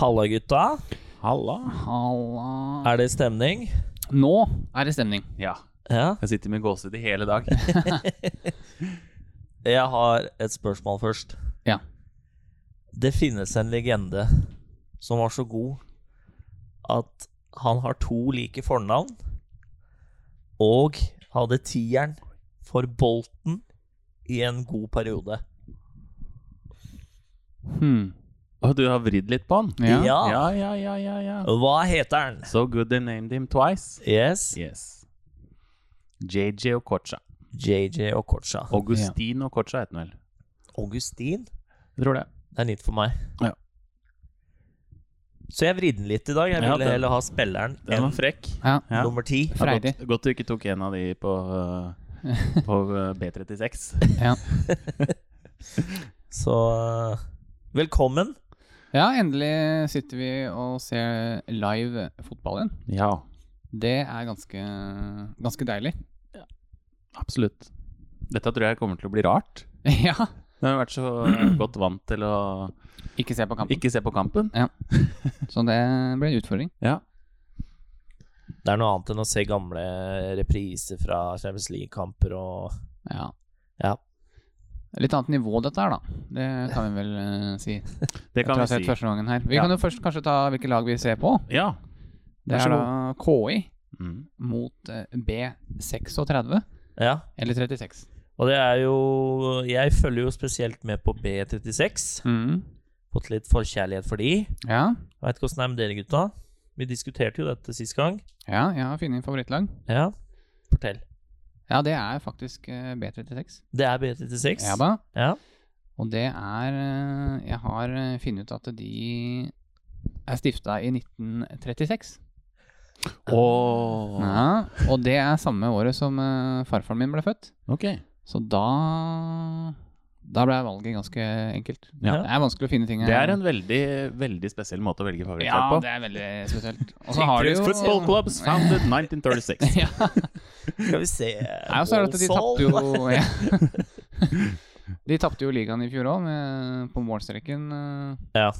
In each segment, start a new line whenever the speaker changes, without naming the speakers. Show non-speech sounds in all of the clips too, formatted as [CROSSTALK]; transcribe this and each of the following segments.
Halla, gutta.
Halla.
Halla
Er det stemning?
Nå er det stemning.
Ja.
Ja.
Jeg sitter med gåsehud i hele [LAUGHS] dag.
Jeg har et spørsmål først.
Ja.
Det finnes en legende som var så god at han har to like fornavn, og hadde tieren for Bolten i en god periode.
Hmm.
Og du har vridd litt på den?
Ja.
Ja.
ja, ja, ja, ja, ja.
Hva heter han?
So good they named him twice.
Yes,
Yes. JJ Okocha.
JJ Okocha.
Augustin Okocha heter han vel.
Augustin?
Jeg tror det.
Det er nytt for meg.
Ja.
Så jeg vridde den litt i dag. Jeg
Ja,
ville
den-
heller ha spilleren
Den var
enn
frekk.
Ja.
Ja.
nummer ti.
Ja,
Freidig.
Godt, godt du ikke tok en av de [LAUGHS] på, øh, på øh, B36.
Ja.
Så eh, velkommen.
ja, endelig sitter vi og ser live fotball igjen.
Ja,
Det er ganske, ganske deilig. [LAUGHS]
absolutt. Dette tror jeg kommer til å bli rart.
ja.
Vi har vært så [CLEARS THROAT] øh, godt vant til å
Ikke se på kampen.
ikke se på kampen.
Så det blir en utfordring.
Ja.
Det er noe annet enn å se gamle repriser fra Champions League-kamper og
Ja.
Ja.
Litt annet nivå dette her, da. Det kan vi vel eh, si.
Det kan
Etter å
vi
ha sett
si.
første gangen her. Vi
Ja.
kan jo først kanskje ta hvilke lag vi ser på.
Ja.
Det
Vær så
er da KI
Mm.
mot eh, B36,
Ja.
eller 36.
Og det er jo Jeg følger jo spesielt med på B36.
Mm.
Fått litt forkjærlighet for de.
Ja.
Veit ikke åssen det er med dere, gutta. Vi diskuterte jo dette sist gang.
ja, jeg har funnet favorittlag.
Ja, fortell.
Ja, det er faktisk eh, B36.
Det er B36.
Ja da.
Ja.
Og det er eh, Jeg har eh, funnet ut at de er stifta i 1936.
Åh.
Ja, og det er samme året som eh, farfaren min ble født.
Ok.
Så da Da ble valget ganske enkelt.
Ja.
Det er vanskelig å finne ting
Det er en veldig, veldig spesiell måte å velge
Ja,
favorittlag på.
det er veldig spesielt. Og
[LAUGHS]
så har de jo
Football clubs founded 1936.
[LAUGHS] Ja,
Skal vi se
Nei, og så er det at de tapte
Walsall.
jo [LAUGHS] ja. De tapte jo ligaen i fjor òg, på målstreken. eh,
Ja.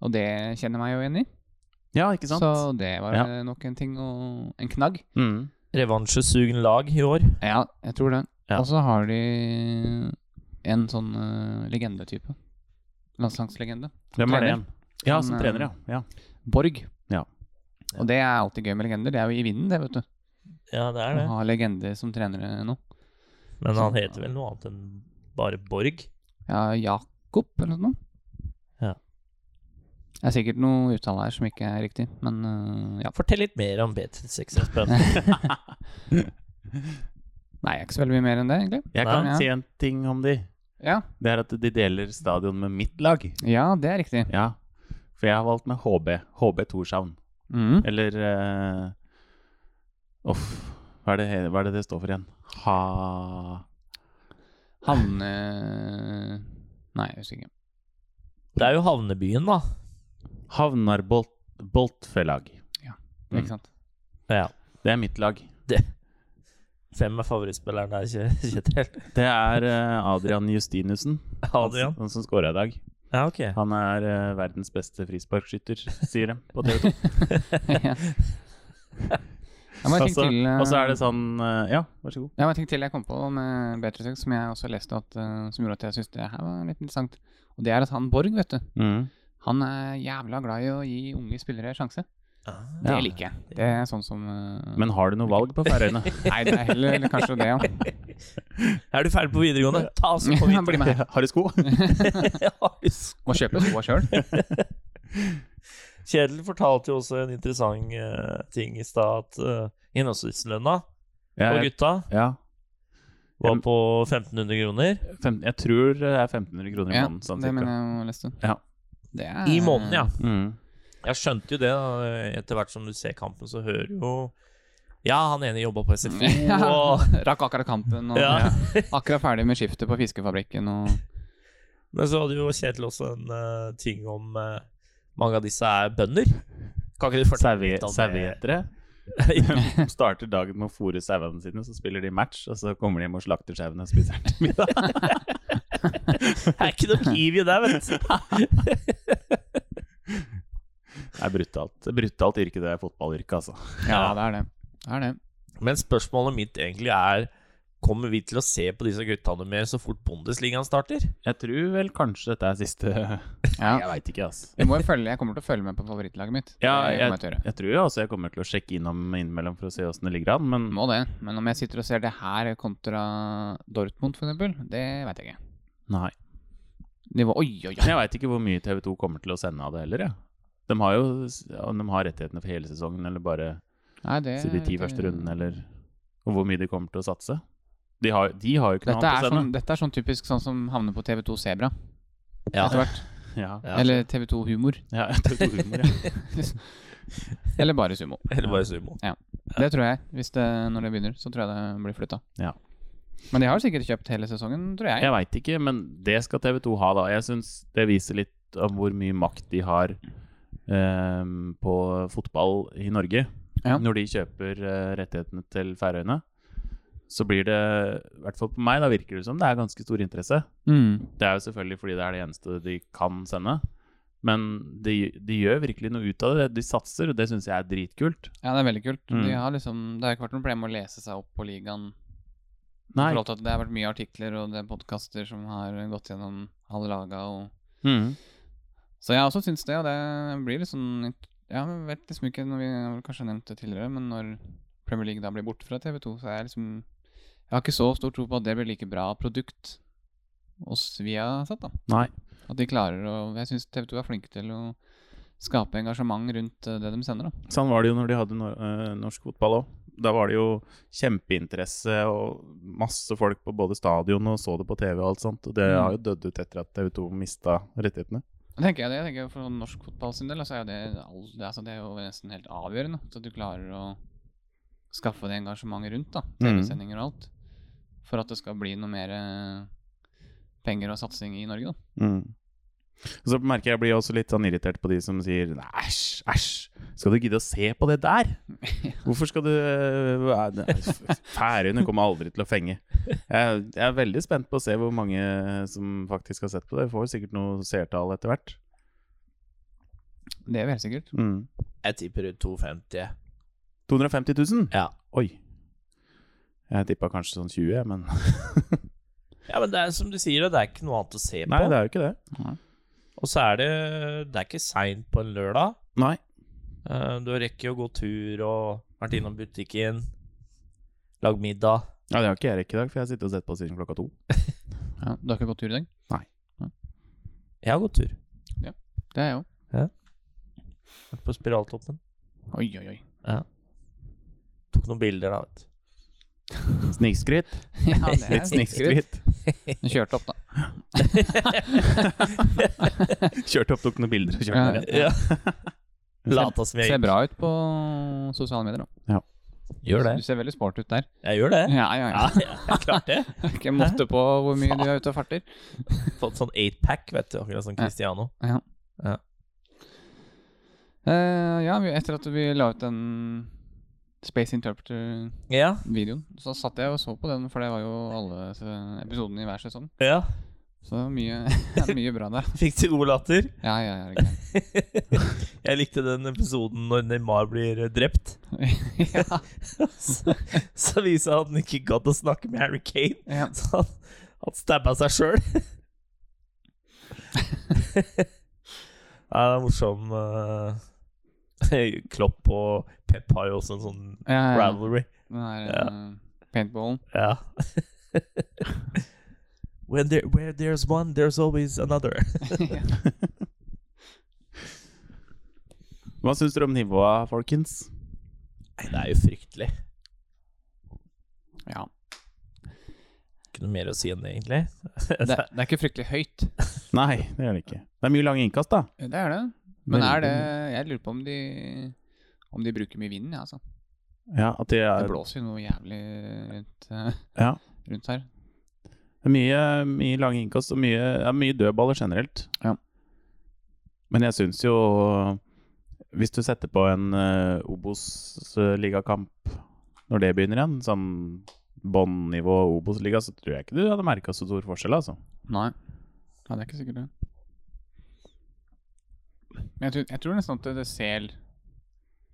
Og det kjenner jeg meg jo igjen i.
Ja, ikke sant?
Så det var
Ja.
eh, nok en ting å En knagg.
Mm.
Revansjesugen lag i år.
Ja, jeg tror det.
Ja.
Og så har de en sånn eh, legendetype. Landslagslegende.
Hvem er det
Trener.
igjen? Ja, som
Han, eh,
trener, ja. ja.
Borg.
Ja.
Og det er alltid gøy med legender. Det er jo i vinden, det, vet du.
Ja, det er
Å
det.
ha legender som trenere nå.
Men han heter vel noe annet enn bare Borg.
Ja, Jakob eller noe.
Ja.
Det er sikkert noe uttale her som ikke er riktig, men eh, ja.
Fortell litt mer om B36, Espen.
Nei, jeg er ikke så veldig mye mer enn det, egentlig.
Jeg kan
Nei, ja.
si en ting om de.
Ja,
Det er at de deler stadion med mitt lag.
ja det er riktig.
Ja. For jeg har valgt med HB. HB Torshavn.
Mhm.
Eller eh, Uff. Hva er, det, he- hva er det det står for igjen? Ha
Havne... eh, Nei, jeg husker ikke.
Det er jo havnebyen, da.
Havnarbolt Boltfelag. Mm.
Ikke sant? [LAUGHS]
Ja.
Det er mitt lag.
Hvem er favorittspilleren der, Kje- Kjetil?
Det er eh, Adrian Justinussen.
Adrian?
Han, han som scora i dag.
Ja, ok.
Han er eh, verdens beste frisparkskytter, [LAUGHS] sier de på TV 2.
ja. Jeg må
Og
tenke
[LAUGHS] så-
til, eh,
Og så er det sånn eh, Ja, vær så god.
Det var en ting til jeg kom på med B36, som jeg også leste at, eh, som gjorde at jeg syntes det her var litt interessant. Og det er at han Borg, vet du,
Mm.
han er jævla glad i å gi unge spillere sjanse.
[LAUGHS] Ah.
Det
Ja.
liker jeg. Det er sånn som eh,
Men har du noe valg på [LAUGHS] Færøyene?
Nei, det er heller kanskje det, ja.
Er du ferdig på videregående? [LAUGHS] Ta oss på [LAUGHS]
Bli
videregående.
med her.
[LAUGHS] har du sko?
Må kjøpe skoa sjøl.
Kjetil fortalte jo også en interessant eh, ting i stad. At uh, innholdslønna
Ja,
på
jeg,
gutta
ja.
var på 1500 kroner.
Fem, jeg tror det er 1500 kroner i
Ja,
måneden. Sånn,
det mener
cirka.
jeg å leste.
Ja.
Det er,
I måneden, ja.
Mm.
Jeg skjønte jo det. Da. Etter hvert som du ser kampen, så hører du jo Ja, han ene jobba på SFO, og
Rakk akkurat kampen, og
ja.
[LAUGHS] akkurat ferdig med skiftet på fiskefabrikken, og
Men så hadde jo Kjetil også en eh, ting om eh, Mange av disse er bønder. Kan ikke du fortelle
Sauegje-
litt om det?
Sauegjetere [LAUGHS] starter dagen med å fôre sauene sine, så spiller de match, og så kommer de hjem og slakter sauene og spiser den
[LAUGHS]
til middag.
Det er ikke noe kiwi der, vet du.
Det er brutalt. Det er brutalt yrke, det er fotballyrket, altså.
Ja, det er det. Det er det.
Men spørsmålet mitt egentlig er Kommer vi til å se på disse guttene mer så fort Bundesligaen starter?
Jeg tror vel kanskje dette er siste Jeg
Ja.
veit ikke, altså.
Jeg, må jo følge, jeg kommer til å følge med på favorittlaget mitt.
Ja,
Det kommer jeg til å
jeg,
gjøre.
jeg tror jo også jeg kommer til å sjekke innom innimellom for å se åssen det ligger an, men
Må det. Men om jeg sitter og ser det her kontra Dortmund, for eksempel, det veit jeg ikke.
nei.
Nivå Oi, oi, oi.
Jeg veit ikke hvor mye TV2 kommer til å sende av det heller, jeg. De har jo ja, om de har rettighetene for hele sesongen, eller bare
Nei, det,
si de ti første rundene, eller Og hvor mye de kommer til å satse. De har, de har jo ikke noe
Dette
annet
er,
å
sånn,
sende.
dette er sånn typisk sånn som havner på TV2 Sebra
Ja.
etter hvert.
Ja.
Ja.
Eller TV2 Humor.
ja [LAUGHS] TV2-humor, ja.
[LAUGHS] Eller bare Sumo.
Eller bare sumo.
Det tror jeg. Hvis det, når det begynner, så tror jeg det blir flytta.
Ja.
Men de har sikkert kjøpt hele sesongen, tror jeg.
Jeg veit ikke, men det skal TV2 ha, da. Jeg syns det viser litt om hvor mye makt de har ehm, på fotball i Norge.
Ja.
Når de kjøper eh, rettighetene til Færøyene, så blir det, i hvert fall på meg, da virker det som det er ganske stor interesse.
Mm.
Det er jo selvfølgelig fordi det er det eneste de kan sende. Men de, de gjør virkelig noe ut av det. De satser, og det syns jeg er dritkult.
Ja, det er veldig kult.
Mm.
De har liksom, det har ikke vært noe problem å lese seg opp på ligaen. I
Nei.
forhold til at Det har vært mye artikler og det er podkaster som har gått gjennom halve laga. Og...
Mm.
Så jeg også syns det, og det blir litt sånn Ja, jeg vet liksom ikke når vi jeg har vel kanskje nevnt det tidligere, men når Premier League da blir borte fra TV2, så er jeg liksom Jeg har ikke så stor tro på at det blir like bra produkt oss vi har satt, da.
Nei.
At de klarer å Jeg syns TV2 er flinke til å skape engasjement rundt eh, det de sender, da.
Sånn var det jo når de hadde nor eh, norsk fotball òg. Da var det jo kjempeinteresse og masse folk på både stadion og så det på TV og alt sånt. Og det
Mm.
har jo dødd ut etter at TV2 mista rettighetene.
Da tenker jeg det. Jeg tenker For sånn norsk fotball sin del, altså, er jo det, all, det, altså, det er jo nesten helt avgjørende. Så at du klarer å skaffe det engasjementet rundt, da.
Mm.
TV-sendinger og alt. For at det skal bli noe mer eh, penger og satsing i Norge, da.
Mm. Og så merker jeg jeg blir også litt sånn irritert på de som sier "Nei, æsj, æsj, skal du gidde å se på det der? Hvorfor skal du eh, [LAUGHS] nei, f- Færøyene kommer aldri til å fenge. Jeg, jeg er veldig spent på å se hvor mange som faktisk har sett på det. Vi får sikkert noe seertall etter hvert.
Det er jo helt sikkert.
Mm.
Jeg tipper rundt 250.
250 000?
Ja.
Oi. Jeg tippa kanskje sånn 20, jeg, men
ja, men det er som du sier, det er ikke noe annet å se på.
Nei, det er jo ikke det.
Og så er det Det er ikke seint på en lørdag.
Nei.
Eh, Du rekker jo å gå tur og vært innom butikken, lagd middag.
Ja, det har ikke jeg rekke i dag, for jeg har sittet og sett på siden klokka to.
Ja, du har ikke gått tur i dag?
Jeg har gått tur.
Det er jeg òg.
Vært på Spiraltoppen.
Oi, oi, oi.
Tok noen bilder da, vet du.
Snikskryt.
[LAUGHS] Ja, det er
Litt snikskryt.
Du kjørte opp, da.
Kjørte opp, tok noen bilder og kjørte
Ja.
ned igjen.
[LAUGHS] Ja. Lata som jeg
Ser
gikk.
bra ut på sosiale medier, da.
Gjør det.
Du ser veldig sport ut der.
Jeg gjør det.
Ja, ja,
Ja,
ja.
jeg klarte det.
Ikke måte på hvor mye du er ute og farter.
Fått sånn 8-pack, vet du, akkurat som Cristiano.
Eh, ja, vi, etter at vi la ut den Space Interpreter-videoen,
Ja,
så satt jeg og så på den, for det var jo alle se- episodene i hver sesong.
ja.
Så det var mye, [LAUGHS] mye bra der.
Fikk du god latter?
Ja, ja, ja. det er
[LAUGHS]
greit.
[LAUGHS] Jeg likte den episoden når Neymar blir eh, drept. [LAUGHS]
ja,
Så, så viser han at han ikke gadd å snakke med Harry Kane.
ja.
[LAUGHS] Så han, han stabba seg sjøl. [LAUGHS] ja, det er morsom eh, [LAUGHS] Klopp og Pep har jo også en sånn
ja, ja.
rivalry.
Den der eh, paintballen. [LAUGHS]
Ja. [LAUGHS] When there, where there's one, there's always another.
ja.
Hva syns dere om nivået, folkens?
Nei, det er jo fryktelig.
[LAUGHS]
ja.
Ikke noe mer å si enn [LAUGHS] det, egentlig.
Det, det er ikke fryktelig høyt.
Nei, det gjør det ikke. Det er mye lange innkast, da.
Det er det. Men er det
Veldig.
Jeg lurer på om de om de bruker mye vind, ja, altså.
Ja, at det
Det
er,
blåser jo noe jævlig rundt, eh,
ja.
rundt her.
Det er mye, mye lange innkast og mye, ja, mye dødballer generelt.
Ja.
Men jeg syns jo Hvis du setter på en uh, Obos-ligakamp når det begynner igjen, sånn båndnivå Obos-liga, så tror jeg ikke du hadde merka så stor forskjell, altså.
Nei. Ja, det er ikke sikkert det. Men jeg tror, jeg tror nesten at det- det ser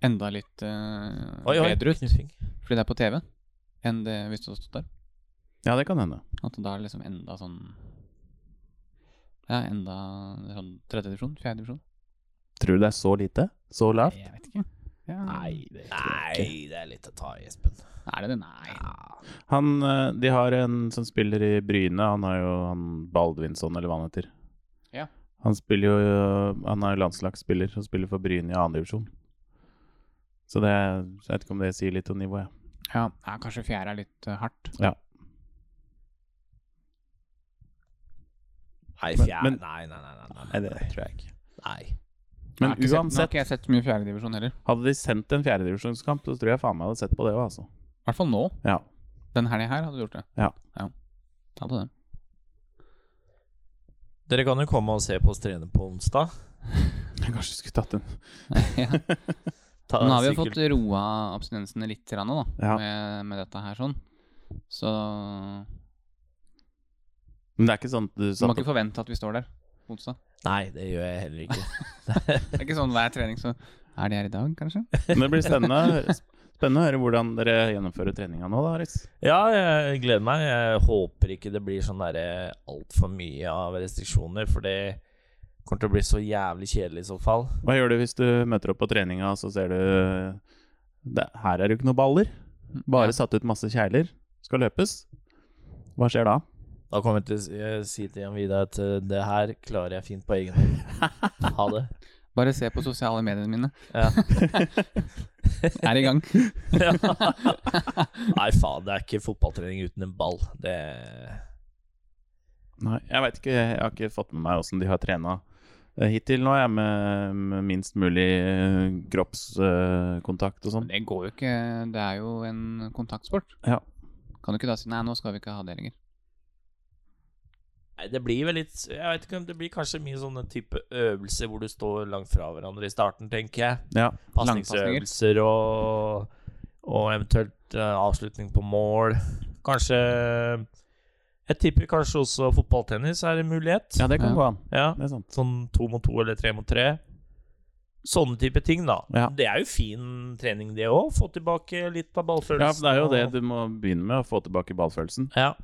enda litt eh,
Oi, oi,
bedre ut
knuffing.
fordi det er på TV enn det hvis det hadde stått der.
Ja, det kan hende.
At det da er liksom enda sånn Ja, enda sånn tredje divisjon? Fjerde divisjon?
Tror du det er så lite? Så lavt?
Jeg vet ikke. Ja.
det
Nei, det er litt å ta i, Espen.
Er det det? Nei.
Han, eh, de har en som spiller i Bryne, han har jo han Baldvinsson, eller hva han heter.
Ja.
Han spiller jo eh, Han er landslagsspiller og spiller for Bryne i annen divisjon. Så det Jeg vet ikke om det sier litt om nivået, jeg.
Ja, ja kanskje fjerde er litt eh, hardt.
Nei,
Men-
fjerde
men-
nei, nei, nei, nei, nei,
Nei, det tror jeg ikke.
nei.
Men
Jeg har ikke sett- Nå har
uansett,
ikke jeg sett så mye fjerdedivisjon heller.
hadde de sendt en fjerdedivisjonskamp, så tror jeg faen meg hadde sett på det òg, altså.
I hvert fall nå.
Ja.
Den helga her hadde du gjort det.
Ja.
ja. Hadde det.
Dere kan jo komme og se på oss trene på onsdag.
Jeg kanskje skulle tatt en
ja.
Ta
Nå har vi jo
sikkert-
fått roa abstinensene litt grann, da,
Ja.
med, med dette her sånn. Så
Men det er ikke sånn at du
du må
satt
ikke
opp
forvente at vi står der på onsdag.
Nei, det gjør jeg heller ikke.
Det er ikke sånn hver trening, så er de her i dag, kanskje?
Men det blir spennende,
[LAUGHS]
å høre- spennende å høre hvordan dere gjennomfører treninga nå, da, Aris.
[LAUGHS] Ja, jeg gleder meg. Jeg håper ikke det blir sånn derre altfor mye av restriksjoner, for det kommer til å bli så jævlig kjedelig i så fall.
Hva gjør du hvis du møter opp på treninga, og så ser du det, Her er det jo ikke noe baller. Bare satt ut masse kjegler. Skal løpes. Hva skjer da?
Da kommer jeg til å si- eh, si til Jan Vidar at eh, det her klarer jeg fint på egen [LAUGHS] hånd. Ha det.
Bare se på sosiale mediene mine.
Ja.
Er i gang.
Ja. Nei, faen, det er ikke fotballtrening uten en ball. Det
Nei, jeg veit ikke. Jeg har ikke fått med meg åssen de har trena hittil. Nå er jeg med, med minst mulig eh, kroppskontakt og sånn.
Det går jo ikke. Det er jo en kontaktsport.
Ja.
Kan du ikke da si nei, nå skal vi ikke ha det lenger.
Nei, det blir vel litt Jeg vet ikke om det blir kanskje mye sånne type øvelser hvor du står langt fra hverandre i starten, tenker jeg.
Ja.
Pasningsøvelser og, og eventuelt eh, avslutning på mål. Kanskje Jeg tipper kanskje også fotballtennis er en mulighet.
ja, det kan
Ja.
gå an.
Ja.
Det er sant.
Sånn to mot to eller tre mot tre. Sånne type ting, da.
Ja.
Det er jo fin trening, det òg. Få tilbake litt av
Ja, for
ballfølelsen.
det er jo
og-
det du må begynne med, å få tilbake ballfølelsen.
Ja.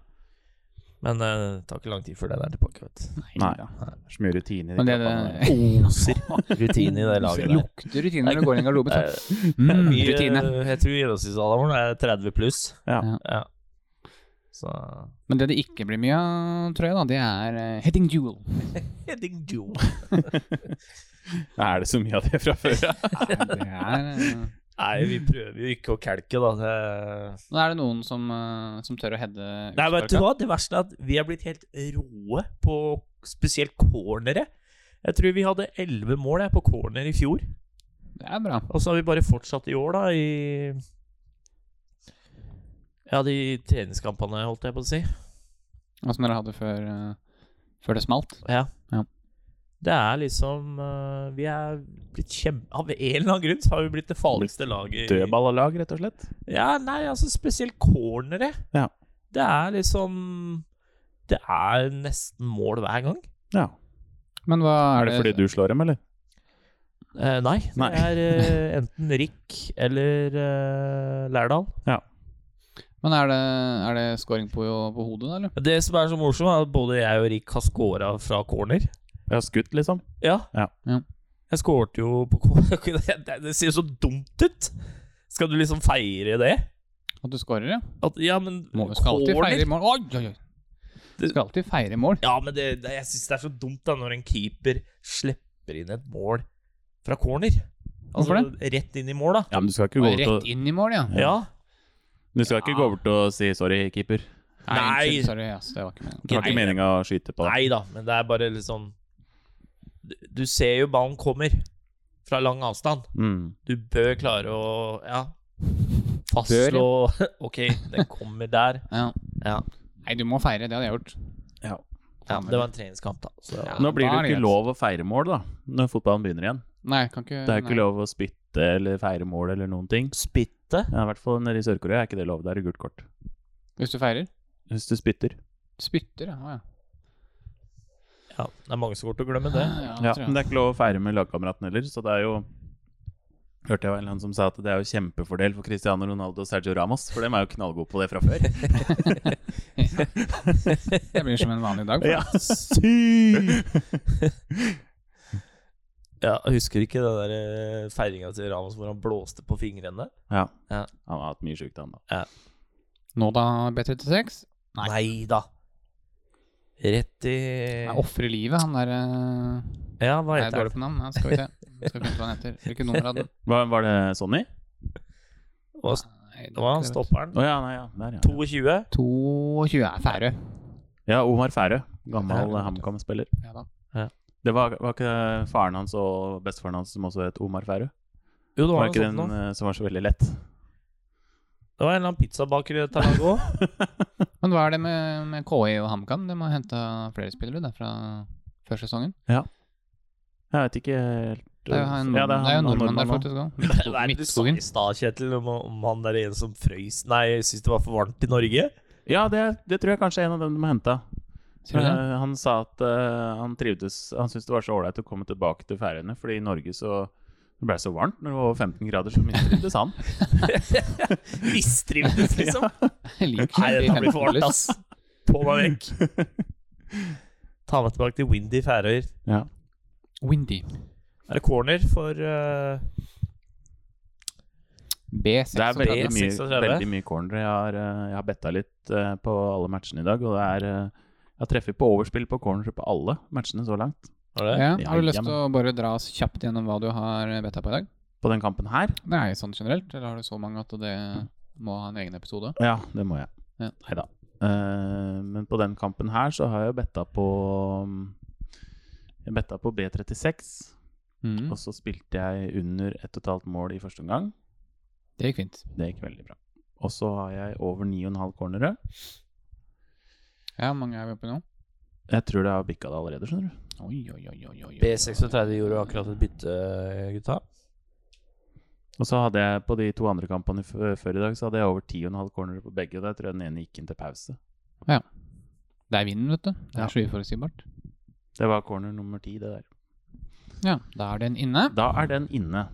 Men eh, det tar ikke lang tid før den er tilbake, vet du.
Nei.
da.
Så mye rutine i
Men det,
kroppen. [LAUGHS]
det
Oser rutine i det laget der.
lukter rutine når du går inn i garderoben.
[LAUGHS]
så-
Det er
Mm,
mye-
rutine.
Jeg tror gjennomsnittsalderen vår er 30 pluss.
Ja.
Ja.
Ja. Så
Men det det ikke blir mye av, tror jeg, da, det er eh, heading duel.
Heading
[LAUGHS]
[LAUGHS] duel.
Er det så mye av det fra før?
Det er, eh,
Nei, vi prøver jo ikke å kelke, da. Det...
nå er det noen som, eh, som tør å heade
Nei, vet du
utsparka.
hva? Det verste er at vi er blitt helt roe på spesielt cornere. Jeg tror vi hadde 11 mål jeg, på corner i fjor.
Det er bra.
Og så har vi bare fortsatt i år, da, i Ja, de treningskampene, holdt jeg på å si.
Og som dere hadde før, eh, før det smalt.
Ja.
Ja.
Det er liksom eh, Vi er blitt kjempe... Av en eller annen grunn så har vi blitt det farligste laget. i-
Dødballag, rett og slett?
Ja, nei, altså spesielt cornere.
Ja.
Det er liksom Det er nesten mål hver gang.
Ja.
Men hva
Er
er,
det fordi du slår dem, eller?
Eh, nei, det
Nei.
er eh, enten Rick eller eh, Lærdal.
Men er det, er det scoring på, på hodet, da, eller?
Det som er så morsomt, er at både jeg og Rick har scora fra corner.
Jeg har skutt, liksom.
Ja.
Ja.
Ja.
Jeg skårte jo på corner. [LAUGHS] Det, det ser jo så dumt ut! Skal du liksom feire det?
At du scorer, ja?
At, ja, men
Må, skal alltid feire mål. Oi, oi, oi! Du
Det-
skal alltid feire mål.
Ja, men det, det, jeg syns det er så dumt da når en keeper slipper inn et mål fra corner. Altså,
Hvorfor
Rett inn i mål, da.
Ja, men du skal ikke gå
Og
bort
rett
og,
inn i mål, ja.
Ja.
du skal ikke gå bort og si 'sorry, keeper'.
Nei.
unnskyld, Sorry, ass, det var ikke meningen.
Det var ikke
Nei.
meninga å skyte på deg.
Nei da, men det er bare litt sånn Du- Du ser jo ballen kommer fra lang avstand.
Mm.
Du bør klare å Ja.
Bør,
Fastslå [LAUGHS] Ok, den kommer der.
Ja.
Ja.
Nei, du må feire. Det hadde jeg gjort.
ja det var en treningskamp, da. Så det var-
Nå blir det
da er
jo
det
ikke
greit.
lov å feire mål, da, når fotballen begynner igjen.
Nei, kan ikke
Det er jo ikke
nei.
lov å spytte eller feire mål eller noen ting.
Spytte?
Ja, I hvert fall nede i Sør-Korea er ikke det lov. Der er det gult kort.
Hvis du feirer.
Hvis du spytter.
Spytter, ja. Å, ja.
Ja, det er mange som går til å glemme det.
det
Ja,
tror
men
jeg.
det er ikke lov å feire med lagkameraten heller, så det er jo Hørte jeg var en eller annen som sa at det er jo kjempefordel for Cristiano Ronaldo og Sergio Ramos, for dem er jo knallgode på det fra før.
Det blir som en vanlig dag. for
Ja, sy!
[LAUGHS] Ja, jeg husker ikke den der eh, feiringa til Ramos hvor han blåste på fingrene?
Ja.
Ja.
Han har hatt mye sjukt, han da.
Nå da, B36? Nei.
da. Rett i
Han ofrer livet, han der eh,
Ja, Eh. hva
Jeg er
heter
dårlig
det?
på navn. Ja, skal vi se. Skal vi finne ut hva han heter. Hvilket nummer hadde han?
Var, var det Sonny?
Hva
Nei,
hva var han
det var ikke det, vet
stopperen?
Å ja, nei, ja. Der, ja.
22?
du. 22 er Færøy.
Ja, Omar Færø. Gammel
Færø.
eh, HamKam-spiller.
Ja, da.
Det var, var ikke faren hans og bestefaren hans som også het Omar Færø?
Jo, det
Var
var, noe
ikke
sånt
den
noe.
eh, som var så veldig lett?
Det var en eller annen pizzabaker i
[LAUGHS]
Tanago.
Men hva er det med, med KI og HamKam? De har henta flere spillere der fra før sesongen.
Jeg vet ikke helt eh,
Det er jo en,
Ja,
nordmann, det er jo en
han-
nordmann
også.
der faktisk
Hva
òg.
er det du sa
Midtskogen.
i stad, Kjetil, om, om han der ene som frøys Nei, jeg syntes det var for varmt i
[LAUGHS]
Norge? [LAUGHS]
Ja, det, det tror jeg kanskje er en av dem de har henta.
Sier
[LAUGHS]
du det?
Eh, han sa at eh, han trivdes Han syntes det var så ålreit å komme tilbake til Færøyene, fordi i Norge så det ble så varmt når det var over 15 grader, så mistrivdes [LAUGHS] han.
Mistrivdes, liksom?
Jeg liker
Nei,
det.
dette blir for varmt, ass. På meg vekk. [LAUGHS] Ta meg tilbake til Windy Færøyer.
Ja.
Windy.
Er det corner for eh,
B36.
Det er veldig
B36.
mye, veldig mye corner. Jeg har, eh, jeg har betta litt eh, på alle matchene i dag, og det er eh, Jeg har treffet på overspill på corner på alle matchene så langt.
Var det?
Ja,
Ja,
har du lyst
jamen.
til å bare dra oss kjapt gjennom hva du har betta på i dag?
På den kampen her
Nei, sånn generelt, eller har du så mange at det må ha en egen episode?
Ja, det må jeg.
Ja.
Nei da. men på den kampen her så har jeg betta på Jeg betta på B36.
Mm.
Og så spilte jeg under ett og et halvt mål i første omgang.
Det gikk fint.
Det gikk veldig bra. Og så har jeg over ni og en halv cornere.
Ja, hvor mange er vi oppe i nå?
Jeg tror det har bikka det allerede, skjønner du.
Oi, oi, oi, oi, oi, oi.
B36 gjorde jo akkurat et bytte, gutta.
Og så hadde jeg på de to andre kampene f før i dag, så hadde jeg over ti og en halv cornere på begge. Og der tror jeg den ene gikk inn til pause.
Det er vinden, vet du. Det er
Ja.
så uforutsigbart.
Det var corner nummer ti, det der.
Ja, da er den inne.
Da er den inne.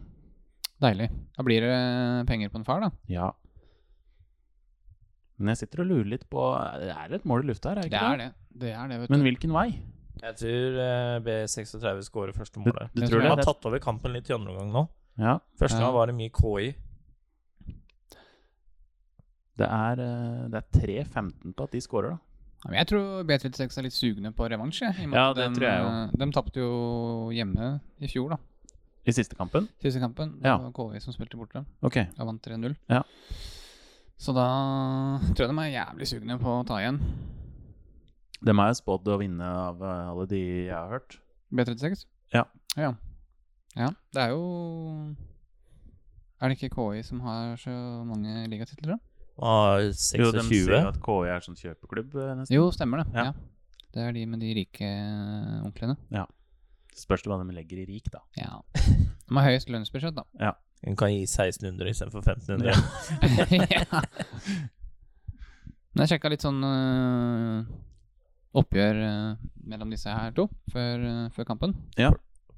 Deilig. Da blir det eh, penger på en far, da.
Ja. Men jeg sitter og lurer litt på Det er et mål i lufta her, er det
Det
ikke
er
det?
det. Det er det, vet
Men
du.
hvilken vei?
Jeg tror eh, B36 skårer første målet.
Du
Det
tror
tror
Jeg
det?
har tatt over kampen litt i andre omgang nå.
Ja.
Første
Ja.
gang var det mye KI.
Det er, eh, det er 3-15 på at de scorer, da.
Ja, Men jeg tror B36 er litt sugne på revansj. jeg, i og med
Ja,
at
det
dem,
tror jeg
eh, De tapte jo hjemme i fjor, da.
I siste kampen?
Siste kampen.
Ja.
Det var KV som spilte bort dem.
Ok.
Da vant 3-0.
Ja.
Så da tror jeg de er jævlig sugne på å ta igjen.
De er jo spådd å vinne av eh, alle de jeg har hørt.
B36?
Ja.
ja. Ja, det er jo Er det ikke KI som har så mange ligatitler, da?
Ah,
Jo, de sier
26.
at KI er sånn kjøpeklubb, eh, nesten.
Jo, stemmer det.
Ja.
Ja. Det er de med de rike eh, onklene.
Spørs det hva de legger i rik, da. [LAUGHS]
Ja. De har høyest lønnsbudsjett, da. [LAUGHS]
Hun kan gi 1600 istedenfor 1500.
ja. Men jeg sjekka litt sånn øh, oppgjør øh, mellom disse her to før, øh, før kampen.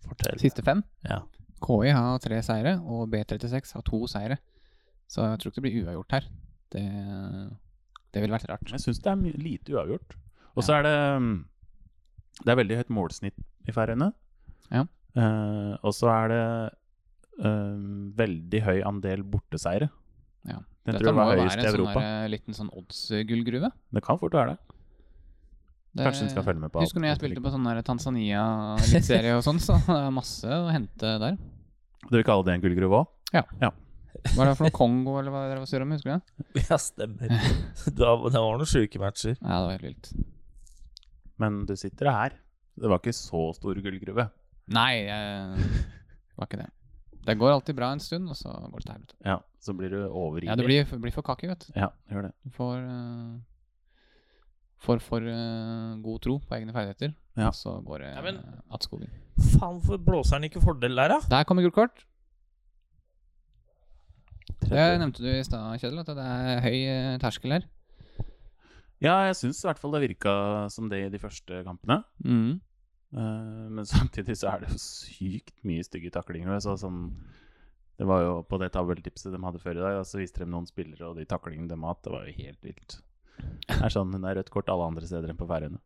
Fortell.
Siste fem.
Ja.
KI har tre seire, og B36 har to seire. Så jeg tror ikke det blir uavgjort her. Det, det ville vært rart.
Jeg syns det er my- lite uavgjort. Og så er det mm, Det er veldig høyt målsnitt i Færøyene.
Ja.
Eh, og så er det eh, veldig høy andel borteseiere.
Ja.
Den tror jeg var høyest i
en sånn
Europa.
der, øh, liten sånn odds-gullgruve.
Det kan fort være det.
Det-
Kanskje den skal følge med på
Husker du når jeg spilte på sånn der Tanzania-eliteserie og sånn, så det er masse å hente der.
Du vil kalle det en gullgruve òg?
Hva er det for noe Kongo, eller hva dere var sur om, husker du det?
[LAUGHS] Ja, stemmer. [LAUGHS] Det var, det var noen sjuke matcher.
Ja, det var helt vilt.
Men du sitter her. Det var ikke så stor gullgruve.
Nei, jeg... det var ikke det. Det går alltid bra en stund, og så går det til helvete.
Ja, så blir du overivrig.
Ja, det blir, blir for kaki, vet du.
Ja, det gjør det.
Du får, eh, får for eh, god tro på egne ferdigheter,
Ja.
og så går det
Ja, men-
eh, att skogen.
Faen, hvorfor blåser han ikke fordel der, da?
Der kommer gult kort. Det
Tredje.
nevnte du i stad, Kjedel, at det er høy eh, terskel her.
Ja, jeg syns i hvert fall det virka som det i de første kampene.
Mm.
Eh, men [LAUGHS] samtidig så er det jo sykt mye stygge taklinger. og Jeg så sånn Det var jo på det tabelltipset de hadde før i dag, og så viste de noen spillere og de taklingene de har hatt. Det var jo helt vilt. Det er sånn hun er rødt kort alle andre steder enn på Færøyene.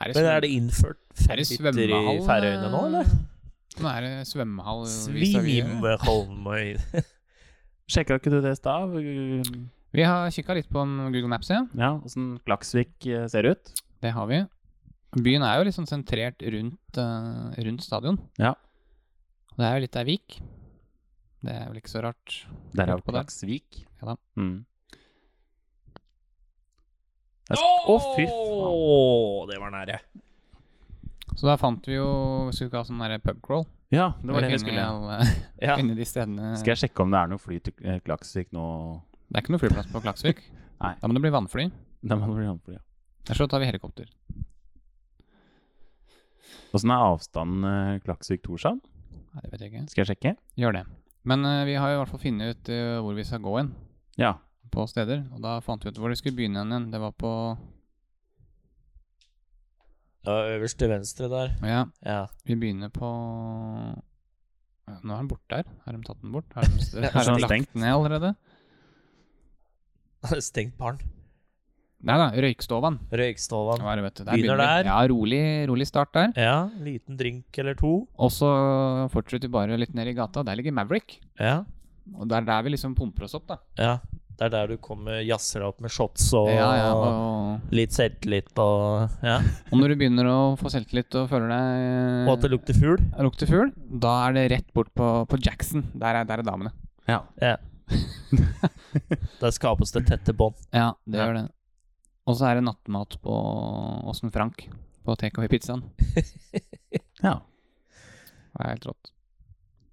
Er
Men er det innført
Er det
femliter i
svømmehall?
Færøyene nå, eller?
Nå er det svømmehall. vis-à-vis.
Svimeholmøy.
Sjekka ikke du det i stad?
Vi har kikka litt på en Google Maps, ja.
Ja, åssen Klaksvik eh, ser ut?
Det har vi. Byen er jo liksom sentrert rundt, eh, rundt stadion.
Ja.
Og Det er jo litt ei vik. Det er vel ikke så rart.
Derav
På der.
Klaksvik.
Ja da.
Mm. Det er sk- Å, fy faen.
Åh, det var nære.
Så da fant vi jo Vi skulle ikke ha sånn derre pubcrawl.
Ja, det var det vi
kunne
skulle.
alle-
[LAUGHS]
Ja.
finne eh, de stedene
Skal jeg sjekke om det er noe fly til eh, Klaksvik nå?
Det er ikke noe flyplass på Klaksvik.
Nei.
Da må det bli vannfly.
Da må det bli håndfly, ja.
Eller så tar vi helikopter.
Åssen er avstanden eh, Klaksvik-Torshavn?
Nei, det vet jeg ikke.
Skal jeg sjekke?
Gjør det. Men eh, vi har jo i hvert fall funnet ut eh, hvor vi skal gå hen,
Ja.
på steder. Og da fant vi ut hvor vi skulle begynne hen igjen. Det var på
Ja, øverst til venstre der.
Ja,
Ja. [LAUGHS]
vi begynner på ja, Nå er den borte her. Har de tatt den bort?
[LAUGHS]
Har de, har
Kanskje
de
den er stengt?
lagt den ned allerede?
Stengt barn.
Nei da, Røykstovan.
Røykstålan.
Hva er det, vet du? Der
Begynner
vi.
der.
Ja, rolig, rolig start der.
Ja, liten drink eller to.
Og så fortsetter vi bare litt ned i gata. Der ligger Maverick.
Ja.
Og det er der vi liksom pumper oss opp, da.
ja. Det er der du kommer jazzer opp med shots og
Ja, ja, og,
litt selvtillit og Ja.
og når du begynner å få selvtillit og føler deg
Og at det lukter fugl.
Lukter fugl, da er det rett bort på, på Jackson. Der er, der er damene.
ja.
Ja. Der skapes det tette bånd.
Ja, det
Ja.
gjør det. Og så er det nattmat på Åsen Frank på TKV Pizzaen.
[LAUGHS] Ja.
Det er helt rått.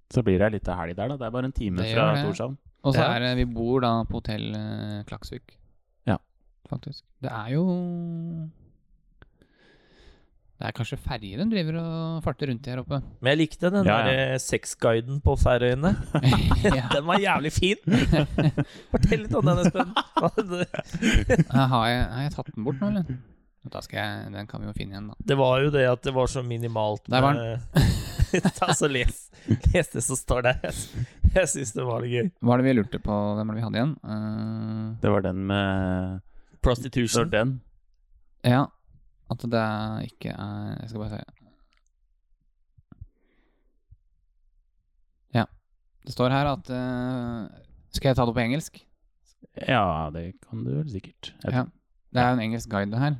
Så blir det ei lita helg der, da. Det er bare en time
Det
fra
gjør det.
Torshavn.
Og så
Ja.
er det Vi bor da på hotell eh, Klaksvik.
Ja.
Faktisk. Det er jo Det er kanskje ferje de driver og farter rundt i her
[LAUGHS]
oppe.
Men jeg likte den
Ja, ja.
der eh, sexguiden på Færøyene.
ja.
Den var jævlig fin! Fortell litt om den, Espen.
har, jeg, har jeg tatt den bort nå, eller? Da skal jeg, den kan vi jo finne igjen, da.
Det var jo det at det var så minimalt
Der var
[LAUGHS] Ta så les, les det som står der. Jeg sy- Jeg syns det var litt gøy.
Hva er det vi lurte på? Hvem er det vi hadde igjen? Eh,
Det var den med Det var
Prostitution.
den.
Ja, at det er ikke er Jeg skal bare se. Ja. Det står her at eh, Skal jeg ta det på engelsk?
Ja, det kan du vel sikkert. Jeg
Ja. Det er jo en engelsk guide, det her.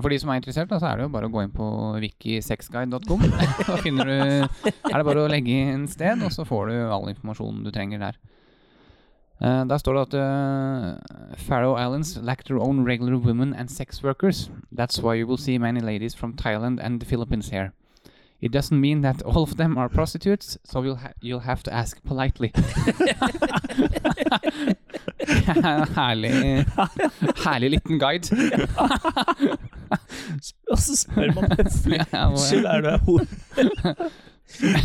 For de som er interessert, da, så er det jo bare å gå inn på wikisexguide.com. Da finner du Er det bare å legge inn sted, og så får du all informasjonen du trenger der. Eh, der står det at eh, Faroe Islands lack their own regular women and sex workers. That's why you will see many ladies from Thailand and the Philippines here. It doesn't mean that all of them are prostitutes, so you'll, ha you'll have to ask politely. [LAUGHS] herlig, herlig liten guide.
Og så spør man høflig.
[LAUGHS] Ja,
[LAUGHS]
[LAUGHS] hvor-
Unnskyld, er du ei hore?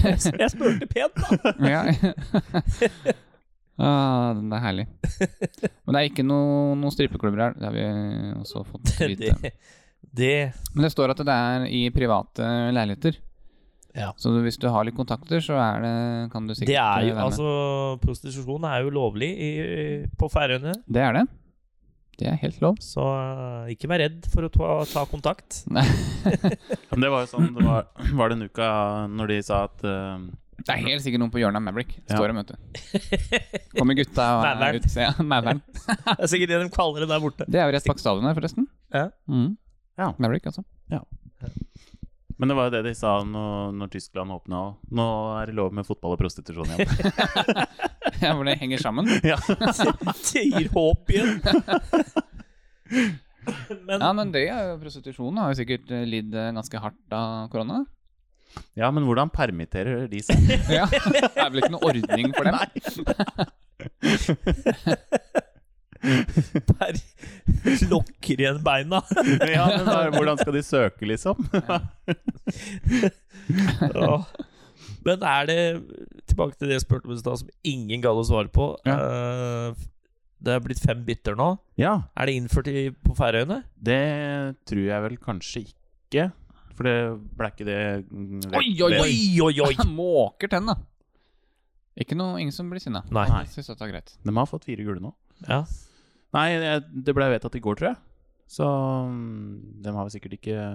Jeg spurte pent, da.
[LAUGHS] Ja.
[LAUGHS]
ah, den er herlig. Men det er ikke noe, noen strippeklubber her. Det har vi også fått
[LAUGHS]
vite.
Det, det
Men det står at det er i private leiligheter.
Ja.
Så du- hvis du har litt kontakter, så er det, kan du sikkert
Det er
eh,
jo,
være med.
altså, prostitusjon er jo lovlig i, på Færøyene,
Det er det. Det er helt lov.
så eh, ikke vær redd for å ta, ta kontakt.
Men det var jo sånn det var, [CLEARS THROAT] var den uka når de sa at eh,
Det er helt sikkert noen på hjørnet av Maverick.
Ja.
Står
[LAUGHS]
dem, vet du. Kommer gutta og er
Maveren.
ut. [LAUGHS] Ja, Maveren.
Det er sikkert det de kaller det der
[LAUGHS]
borte.
Det er jo rett bak stadion her, forresten.
Ja.
Mm.
Ja.
Maverick, altså. [LAUGHS]
Men det var jo det de sa når, når Tyskland åpna òg. Nå er det lov med fotball og prostitusjon igjen.
Ja, Hvor det henger sammen.
ja.
Det gir håp igjen. Men
Ja, men det er jo prostitusjonen har jo sikkert eh, lidd eh, ganske hardt av korona. [LAUGHS]
ja, men hvordan permitterer de [LAUGHS] seg?
Ja, Det er vel ikke noen ordning for dem?
per lokker igjen beina.
ja, men da, hvordan skal de søke, liksom?
Åh. Men er det Tilbake til det jeg spurte om i stad, som ingen gadd å svare på. Eh, Det er blitt fem bytter nå.
Ja,
Er det innført i, på Færøyene?
det tror jeg vel kanskje ikke. For det ble ikke det mm,
Oi, oi,
ved-
oi!
oi, oi!
[LAUGHS]
[LAUGHS]
Måker tenn, da. Ikke noe, ingen som blir sinna.
Nei.
Alle synes dette er greit.
De har fått fire gule nå.
Ja.
Nei, jeg- det ble vedtatt i går, tror jeg. Så mm, de har vel sikkert ikke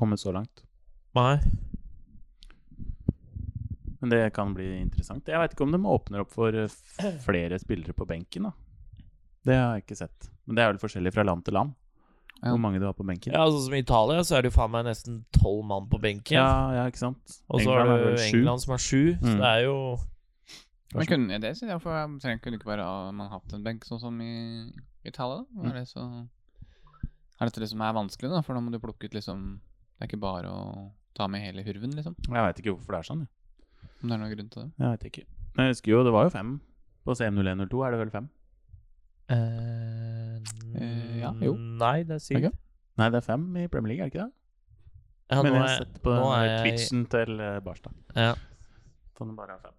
kommet så langt.
Nei.
Men det kan bli interessant. Jeg veit ikke om de åpner opp for eh, f- flere spillere på benken. da. Det har jeg ikke sett. Men det er vel forskjellig fra land til land
Ja.
hvor mange du har på benken.
Ja, sånn som i Italia, så er det jo faen meg nesten tolv mann på benken.
ja, ja, ikke sant?
Og så har
er
du
vel sju.
England som har sju, så
Mm.
det er jo
Men kunne det synes jeg, for jeg trenger kunne ikke bare ha man hatt en benk sånn som i Italia. da? Er det så Er dette det som er vanskelig, da? For da må du plukke ut liksom Det er ikke bare å ta med hele hurven, liksom.
Jeg veit ikke hvorfor det er sånn. jeg.
Om det er noen grunn til det.
Jeg vet ikke. Men jeg husker jo, det var jo fem. På CM0102 E er det vel fem?
eh,
Eh, ja, jo.
Nei, det er sikkert.
Nei, det er fem i Premier League, er det ikke det?
Ja,
Men
nå
jeg
er-
har sett på
nå er jeg-
Twitchen til eh, Barstad.
Ja.
Så den bare har fem.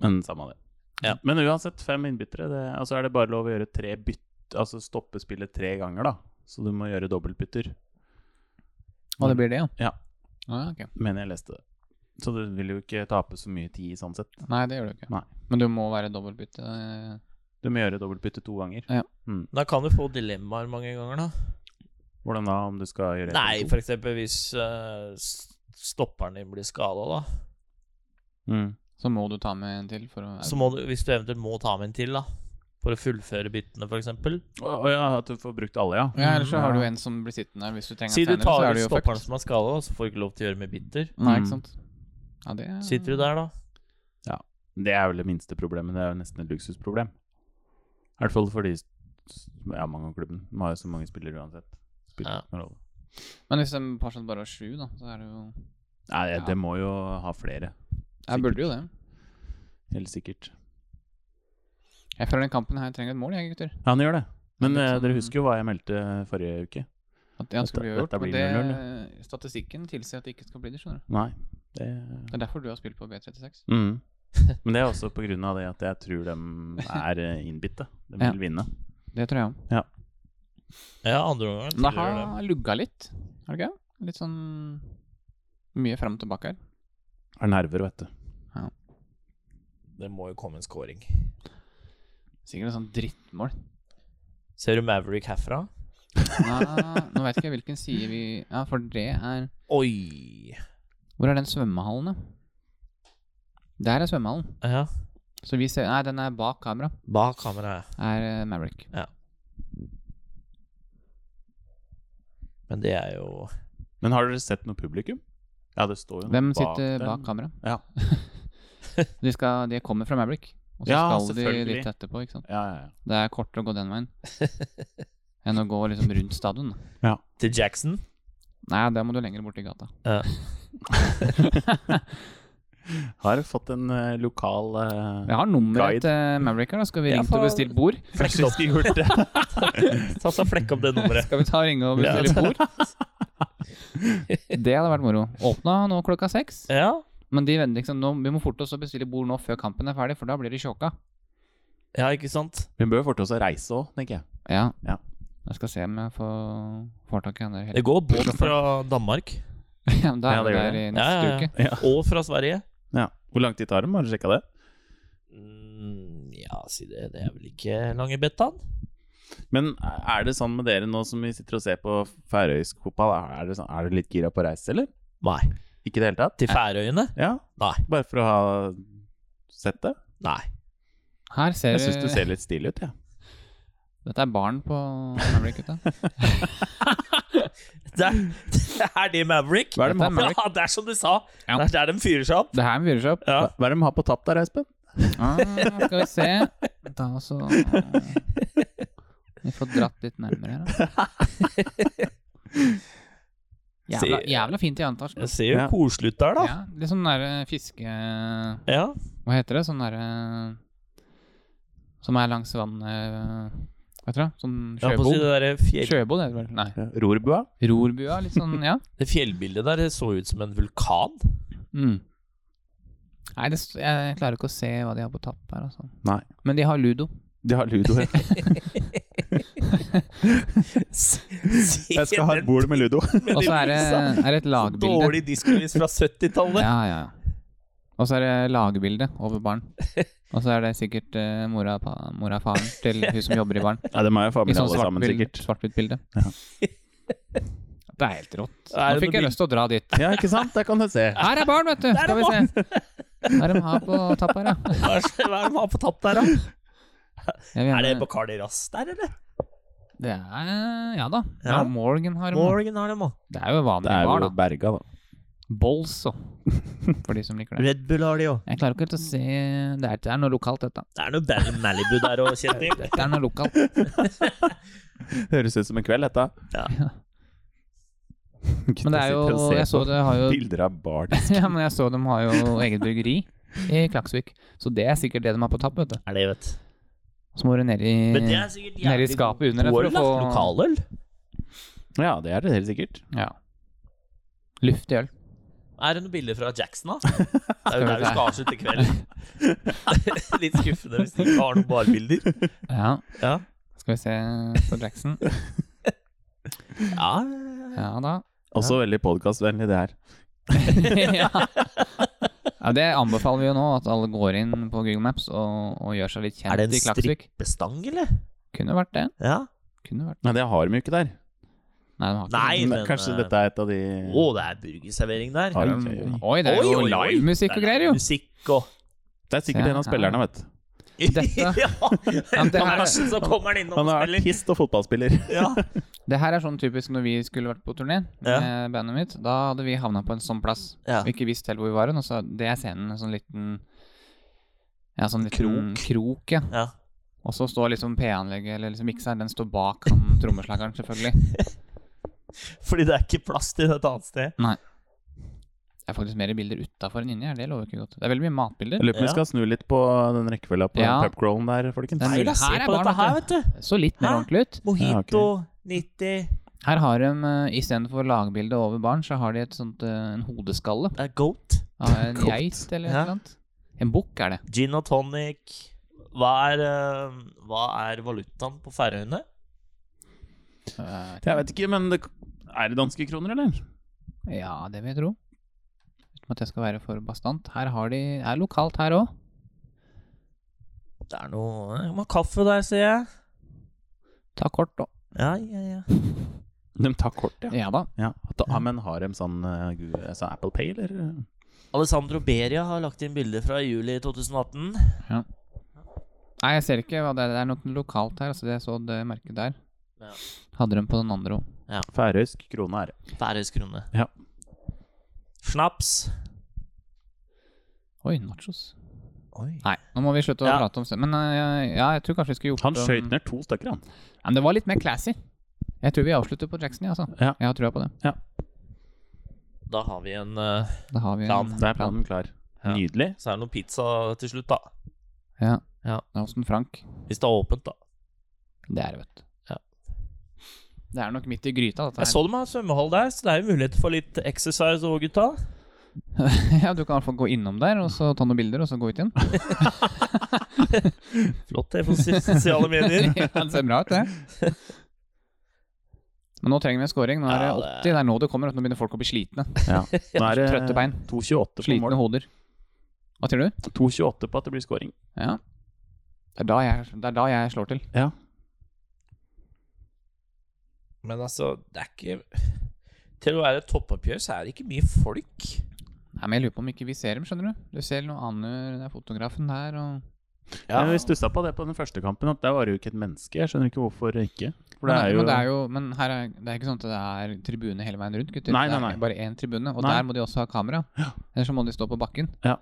Men samme det.
Ja.
Men uansett, fem innbyttere. Det, altså er det bare lov å gjøre tre bytt, altså stoppe spillet tre ganger, da. Så du må gjøre dobbeltbytter,
Og det blir det, ja?
Ja.
Ah, ok.
mener jeg leste det. Så du vil jo ikke tape så mye tid sånn sett.
Nei, det gjør du ikke.
Nei.
Men du må være dobbeltbytte. eh,
Du må gjøre dobbeltbytte to ganger.
Da kan du få dilemmaer mange ganger, da.
Hvordan da, om du skal gjøre ett
Nei,
eller to?
for eksempel hvis eh, s- stopperen din blir skada, da.
Mm.
Så må du ta med en til for å
Så må du, hvis du eventuelt må ta med en til, da. For å fullføre byttene, f.eks.
Å å ja, at du får brukt alle, ja.
Ja, Ellers så har du
Ja.
en som blir sittende her hvis du trenger
Si du
en trener, så
tar
er
ut
du jo
stopperen
fucked.
som er skada, så får du ikke lov til å gjøre med bitter.
Nei,
Mm.
ikke sant. Ja, det er-
Sitter du der, da?
Det er vel det minste problemet. Det er jo nesten et luksusproblem. I hvert fall fordi s- ja, mange av klubben De har jo så mange spillere uansett. Spiller
Ja.
ikke noen rolle.
Men hvis de fortsatt bare har sju, da, så er det jo
Nei,
Ja.
det må jo ha flere.
Jeg burde jo det.
Helt sikkert.
Jeg føler den kampen her trenger et mål, jeg, gutter.
Ja, han gjør det. Men
Det er litt
eh, dere
sånn-
husker jo hva jeg meldte eh, forrige uke?
At det
Dette-
skulle vi ha gjort.
dette
Men
blir
det, statistikken tilsier at det ikke skal bli det, skjønner du.
Nei, det
Det er derfor du har spilt på B36.
mm.
[LAUGHS]
Men det er også på grunn av det at jeg tror de er eh, innbitte. De vil
Ja.
vinne.
Det tror jeg òg.
Ja, andre omgang.
Men det
tilhører dem.
har lugga litt, har det ikke? Litt sånn mye fram og tilbake her.
Har nerver, vet du.
Det må jo komme en scoring.
Sikkert et
sånn
sånt drittmål.
Ser du Maverick herfra?
Nei, nå vet ikke jeg hvilken side vi Ja, for det er
Oi!
Hvor er den svømmehallen, da? Der er svømmehallen.
Ja,
Så vi ser Nei, den er bak kamera.
bak kameraet.
Er eh, Maverick.
Men det er jo [LAUGHS]
Men har dere sett noe publikum? Ja, det står jo noe
Hvem
bak
sitter
dem.
bak kamera?
Ja.
[LAUGHS] de, skal, de kommer fra Maverick, og så
Ja,
skal de
selvfølgelig.
litt etterpå. ikke sant?
Ja, ja, ja.
Det er kortere å gå den veien enn å gå liksom rundt stadion. da.
Til Jackson.
Nei, der må du lenger bort i gata.
Har fått en eh, lokal eh,
Jeg har nummeret
Guide.
til Maverick her. da. Skal vi
Ja,
ringe til
for-
og bestille bord?
Kanskje vi skulle gjort det.
[LAUGHS]
Ta så Flekk opp det nummeret.
Skal vi ta og ringe og
Ja.
[LAUGHS]
bestille bord? Det hadde vært moro. Åpna nå klokka seks.
Ja.
Men de venter liksom, nå, vi må forte oss å bestille bord nå før kampen er ferdig, for da blir de sjokka.
ja, ikke sant?
Vi bør forte oss å reise òg, tenker jeg.
Ja.
Ja.
Jeg skal se om jeg får, får tak i han der.
Det
hele-
går båt fra Danmark.
[LAUGHS] Ja, men da
Ja,
er vi
det gjør
der i
det.
neste
Ja, ja, ja.
uke.
Og fra Sverige.
Ja. Hvor lang tid tar det? Har du sjekka det?
Mm, ja, si det. Det er vel ikke Langebettan?
Men er det sånn med dere nå som vi sitter og ser på færøysk fotball, er det, sånn, er det litt gira på å reise, eller?
Nei.
Ikke i det hele tatt?
Til Færøyene?
Ja,
Nei.
bare for å ha sett det.
Nei.
Her ser
Jeg syns du ser litt stilig ut, jeg.
Dette er barn på Maverick, gutta.
Det er, [LAUGHS] det er det Maverick.
Hva er det
Dette
med
Maverick?
Ja, [LAUGHS] det er som du sa.
Ja.
Det er der de fyrer seg opp.
Det her er en fyrirshop.
Ja.
Hva hva er det de har på tapp der, Espen?
Ah, skal vi se. Da så Vi får dratt litt nærmere
[LAUGHS]
her, da. Jævla,
Se-
jævla fint i antall.
Jeg ser jo
Ja.
koselig ut der, da.
Ja, litt sånn derre fiske...
Ja.
Hva heter det? Sånn derre Som er langs vannet eh, Hva heter det? Sånn
Jeg holdt på å si
sjøbod?
det der fjell,
Sjøbod er det vel? Nei.
Ja, Rorbua?
Rorbua, litt sånn,
[LAUGHS]
ja.
det fjellbildet der det så ut som en vulkan. [LAUGHS]
Mm. Nei, det, s- jeg klarer ikke å se hva de har på tapp her, altså.
Nei.
[LAUGHS]
Men de har ludo.
De har [LAUGHS] ludo. ja. Jeg skal ha et bord med ludo.
Og så er det, er det et lagbilde.
Dårlig diskolys fra 70-tallet.
[LAUGHS] Ja, ja, ja. Og så er det lagbilde over
[LAUGHS]
baren. Og så er det sikkert eh, mora, og pa, mora og faren til hun som jobber i baren.
[LAUGHS] Ja, det må jo faen
I
meg
sånn
alle sammen,
svart-hvitt
sikkert.
svart bilde. [LAUGHS] Det er helt rått.
Er
Nå
det
fikk jeg
noe
lyst til å dra dit.
Ja, ikke sant? Der kan du
[LAUGHS]
se.
Her er barn, vet du! Skal vi se. Hva er det de har på tapp her, da?
Hva er hva er det man har på tapp der, da? [LAUGHS] Er
Jeg vil
det
gjerne-
på Cardi Rass der, eller?
det er Ja da.
Ja.
Ja, Morgan har dem.
Morgan har dem, da.
Det er jo
Det
vanlig
er
bar,
jo
da.
Berga, da.
Bolls og For de som liker det.
Red Bull har de òg.
Jeg klarer ikke helt å se Det er, det er noe lokalt, dette.
Det er noe Barry Malibu der òg,
[LAUGHS]
Kjetil.
Dette er noe lokalt.
Høres ut som en kveld, dette.
Ja.
[LAUGHS]
Men det er jo Jeg så det har jo
[LAUGHS] Bilder av barn.
[LAUGHS] Ja, men jeg så de har jo eget bryggeri i Klaksvik. Så det er sikkert det de har på tapp, vet du.
Er det, vet du.
Så må du ned i
Men det er sikkert
Mm. Nede i
jævlig
skapet under der
god
for å
øl, da.
få-
Lokaløl?
Ja, det er det helt sikkert.
Ja. Luftig øl.
Er det noen bilder fra
[LAUGHS]
Jackson, da? Det er jo der
vi
vi
se.
skal avslutte
[LAUGHS]
kvelden. Litt skuffende hvis de ikke har noen barbilder.
Ja.
Ja.
Skal vi se på Jackson.
ja.
Ja da. [LAUGHS]
Også veldig podkastvennlig, det her.
ja. ja, det anbefaler vi jo nå, at alle går inn på Google Maps og, og gjør seg litt
Er det
kjent
en
i Klaksvik.
Bestang, eller?
Kunne vært det.
Ja.
Kunne vært.
Nei, det har de jo ikke der.
Nei, den har ikke
Nei,
Men
men
Kanskje
eh,
dette er et av de
Mm.
Å, det er burgerservering der.
Har
det.
de-
Oi, det er
Oi,
jo
oi, oi.
livemusikk og
Det er
greier, jo.
Musikk og
Det er sikkert
Ja,
en av
ja.
spillerne, vet du.
Dette-
[LAUGHS] ja.
men det her-
Andersen, så kommer han innom
Han
og
er
spiller.
artist og fotballspiller.
Ja.
Det her er sånn typisk når vi skulle vært på turné
Ja.
med bandet mitt. Da hadde vi havna på en sånn plass
Ja.
og ikke visst helt hvor vi var hen. Og så det er scenen, en sånn liten Ja, sånn liten krok. ja.
ja.
Og så står liksom P-anlegget, eller liksom mikseren, den står bak han
[LAUGHS]
trommeslageren, selvfølgelig.
Fordi det er ikke plass til et annet sted.
Det er faktisk mer bilder utafor enn inni her, det lover ikke godt. Det er veldig mye
Jeg
matbilder.
lurer på om vi
Ja.
skal snu litt på den rekkefølga på
Ja.
pubcrawlen der, folkens.
Den-
Nei, la oss se
Her er
på dette
barn,
her, vet du.
Det så litt mer
Hæ?
ordentlig ut.
Mojito 90
Her har de eh, istedenfor lagbilde over barn, så har de et sånt eh, en hodeskalle
Det er goat.
av
[LAUGHS]
en
Godt.
geit eller et
Ja.
eller annet. En bukk er det.
Gin og tonic. Hva er, eh, hva er valutaen på Færøyene?
Eh,
Jeg vet ikke, men det, er det danske kroner, eller?
Ja, det vil jeg tro. Uten at jeg skal være for bastant. Her har de er lokalt her òg.
Det er noe eh, Jeg må ha kaffe der, sier jeg.
Ta kort, da.
Ja, ja, ja.
De tar kort, ja.
Ja da.
ja. At, ah, men har de sånn, eh, gu- sånn Apple Pay, eller?
Alessandro Beria har lagt inn bilder fra juli 2018.
Nei, jeg ser ikke hva det er. Det er noe lokalt her. Altså, det jeg så det merket der.
Ja.
Hadde de på den andre òg.
Færøysk krone er det.
Færøysk krone.
Ja.
Snaps.
Oi, nachos.
Oi.
Nei, nå må vi slutte å
Ja.
prate om det. Men eh, ja, jeg tror kanskje vi skulle gjort
Han
om-
skøyt ned to stykker, han.
Ja, Men det var litt mer classy. Jeg tror vi avslutter på Jackson, ja, altså.
Ja.
Jeg har trua på det.
Da har vi en eh,
Da har vi en
Plan.
Det er planen klar.
Ja.
Nydelig.
Så er det noe pizza til slutt, da.
Ja.
Ja.
Det er hos den Frank.
Hvis det er åpent, da.
Det er det, vet du.
Ja.
Det er nok midt i gryta, dette
Jeg så dem har svømmehall der, så det er jo mulighet for litt exercise òg, gutta.
[LAUGHS] ja, du kan i hvert fall gå innom der, og så ta noen bilder, og så gå ut igjen.
Flott det på [LAUGHS] sos- sosiale medier.
[LAUGHS] ja, det ser bra ut, det. Men nå trenger vi en scoring. Nå er det
Ja, det-
80. Det er nå det kommer. at Nå begynner folk å bli slitne.
Ja. Nå er
Trøtte
Eh, det
bein,
2,28 på
slitne
mål.
hoder. Hva sier du?
2,28 på at det blir scoring.
Ja. Det er da jeg, det er da jeg slår til.
Men altså, det er ikke Til å være et toppoppgjør, så er det ikke mye folk.
Nei, men Jeg lurer på om ikke vi ser dem, skjønner du. Du ser noe annet, det er fotografen der og
Ja.
Men vi stussa på det på den første kampen, at der var det jo ikke et menneske. Jeg skjønner ikke hvorfor ikke. For
men,
det er jo,
men, det er jo, men her er, det er ikke sånn at det er tribune hele veien rundt, gutter.
Nei, nei, nei.
Det er bare én tribune, og
Nei.
der må de også ha kamera. Ellers så må de stå på bakken.
Ja.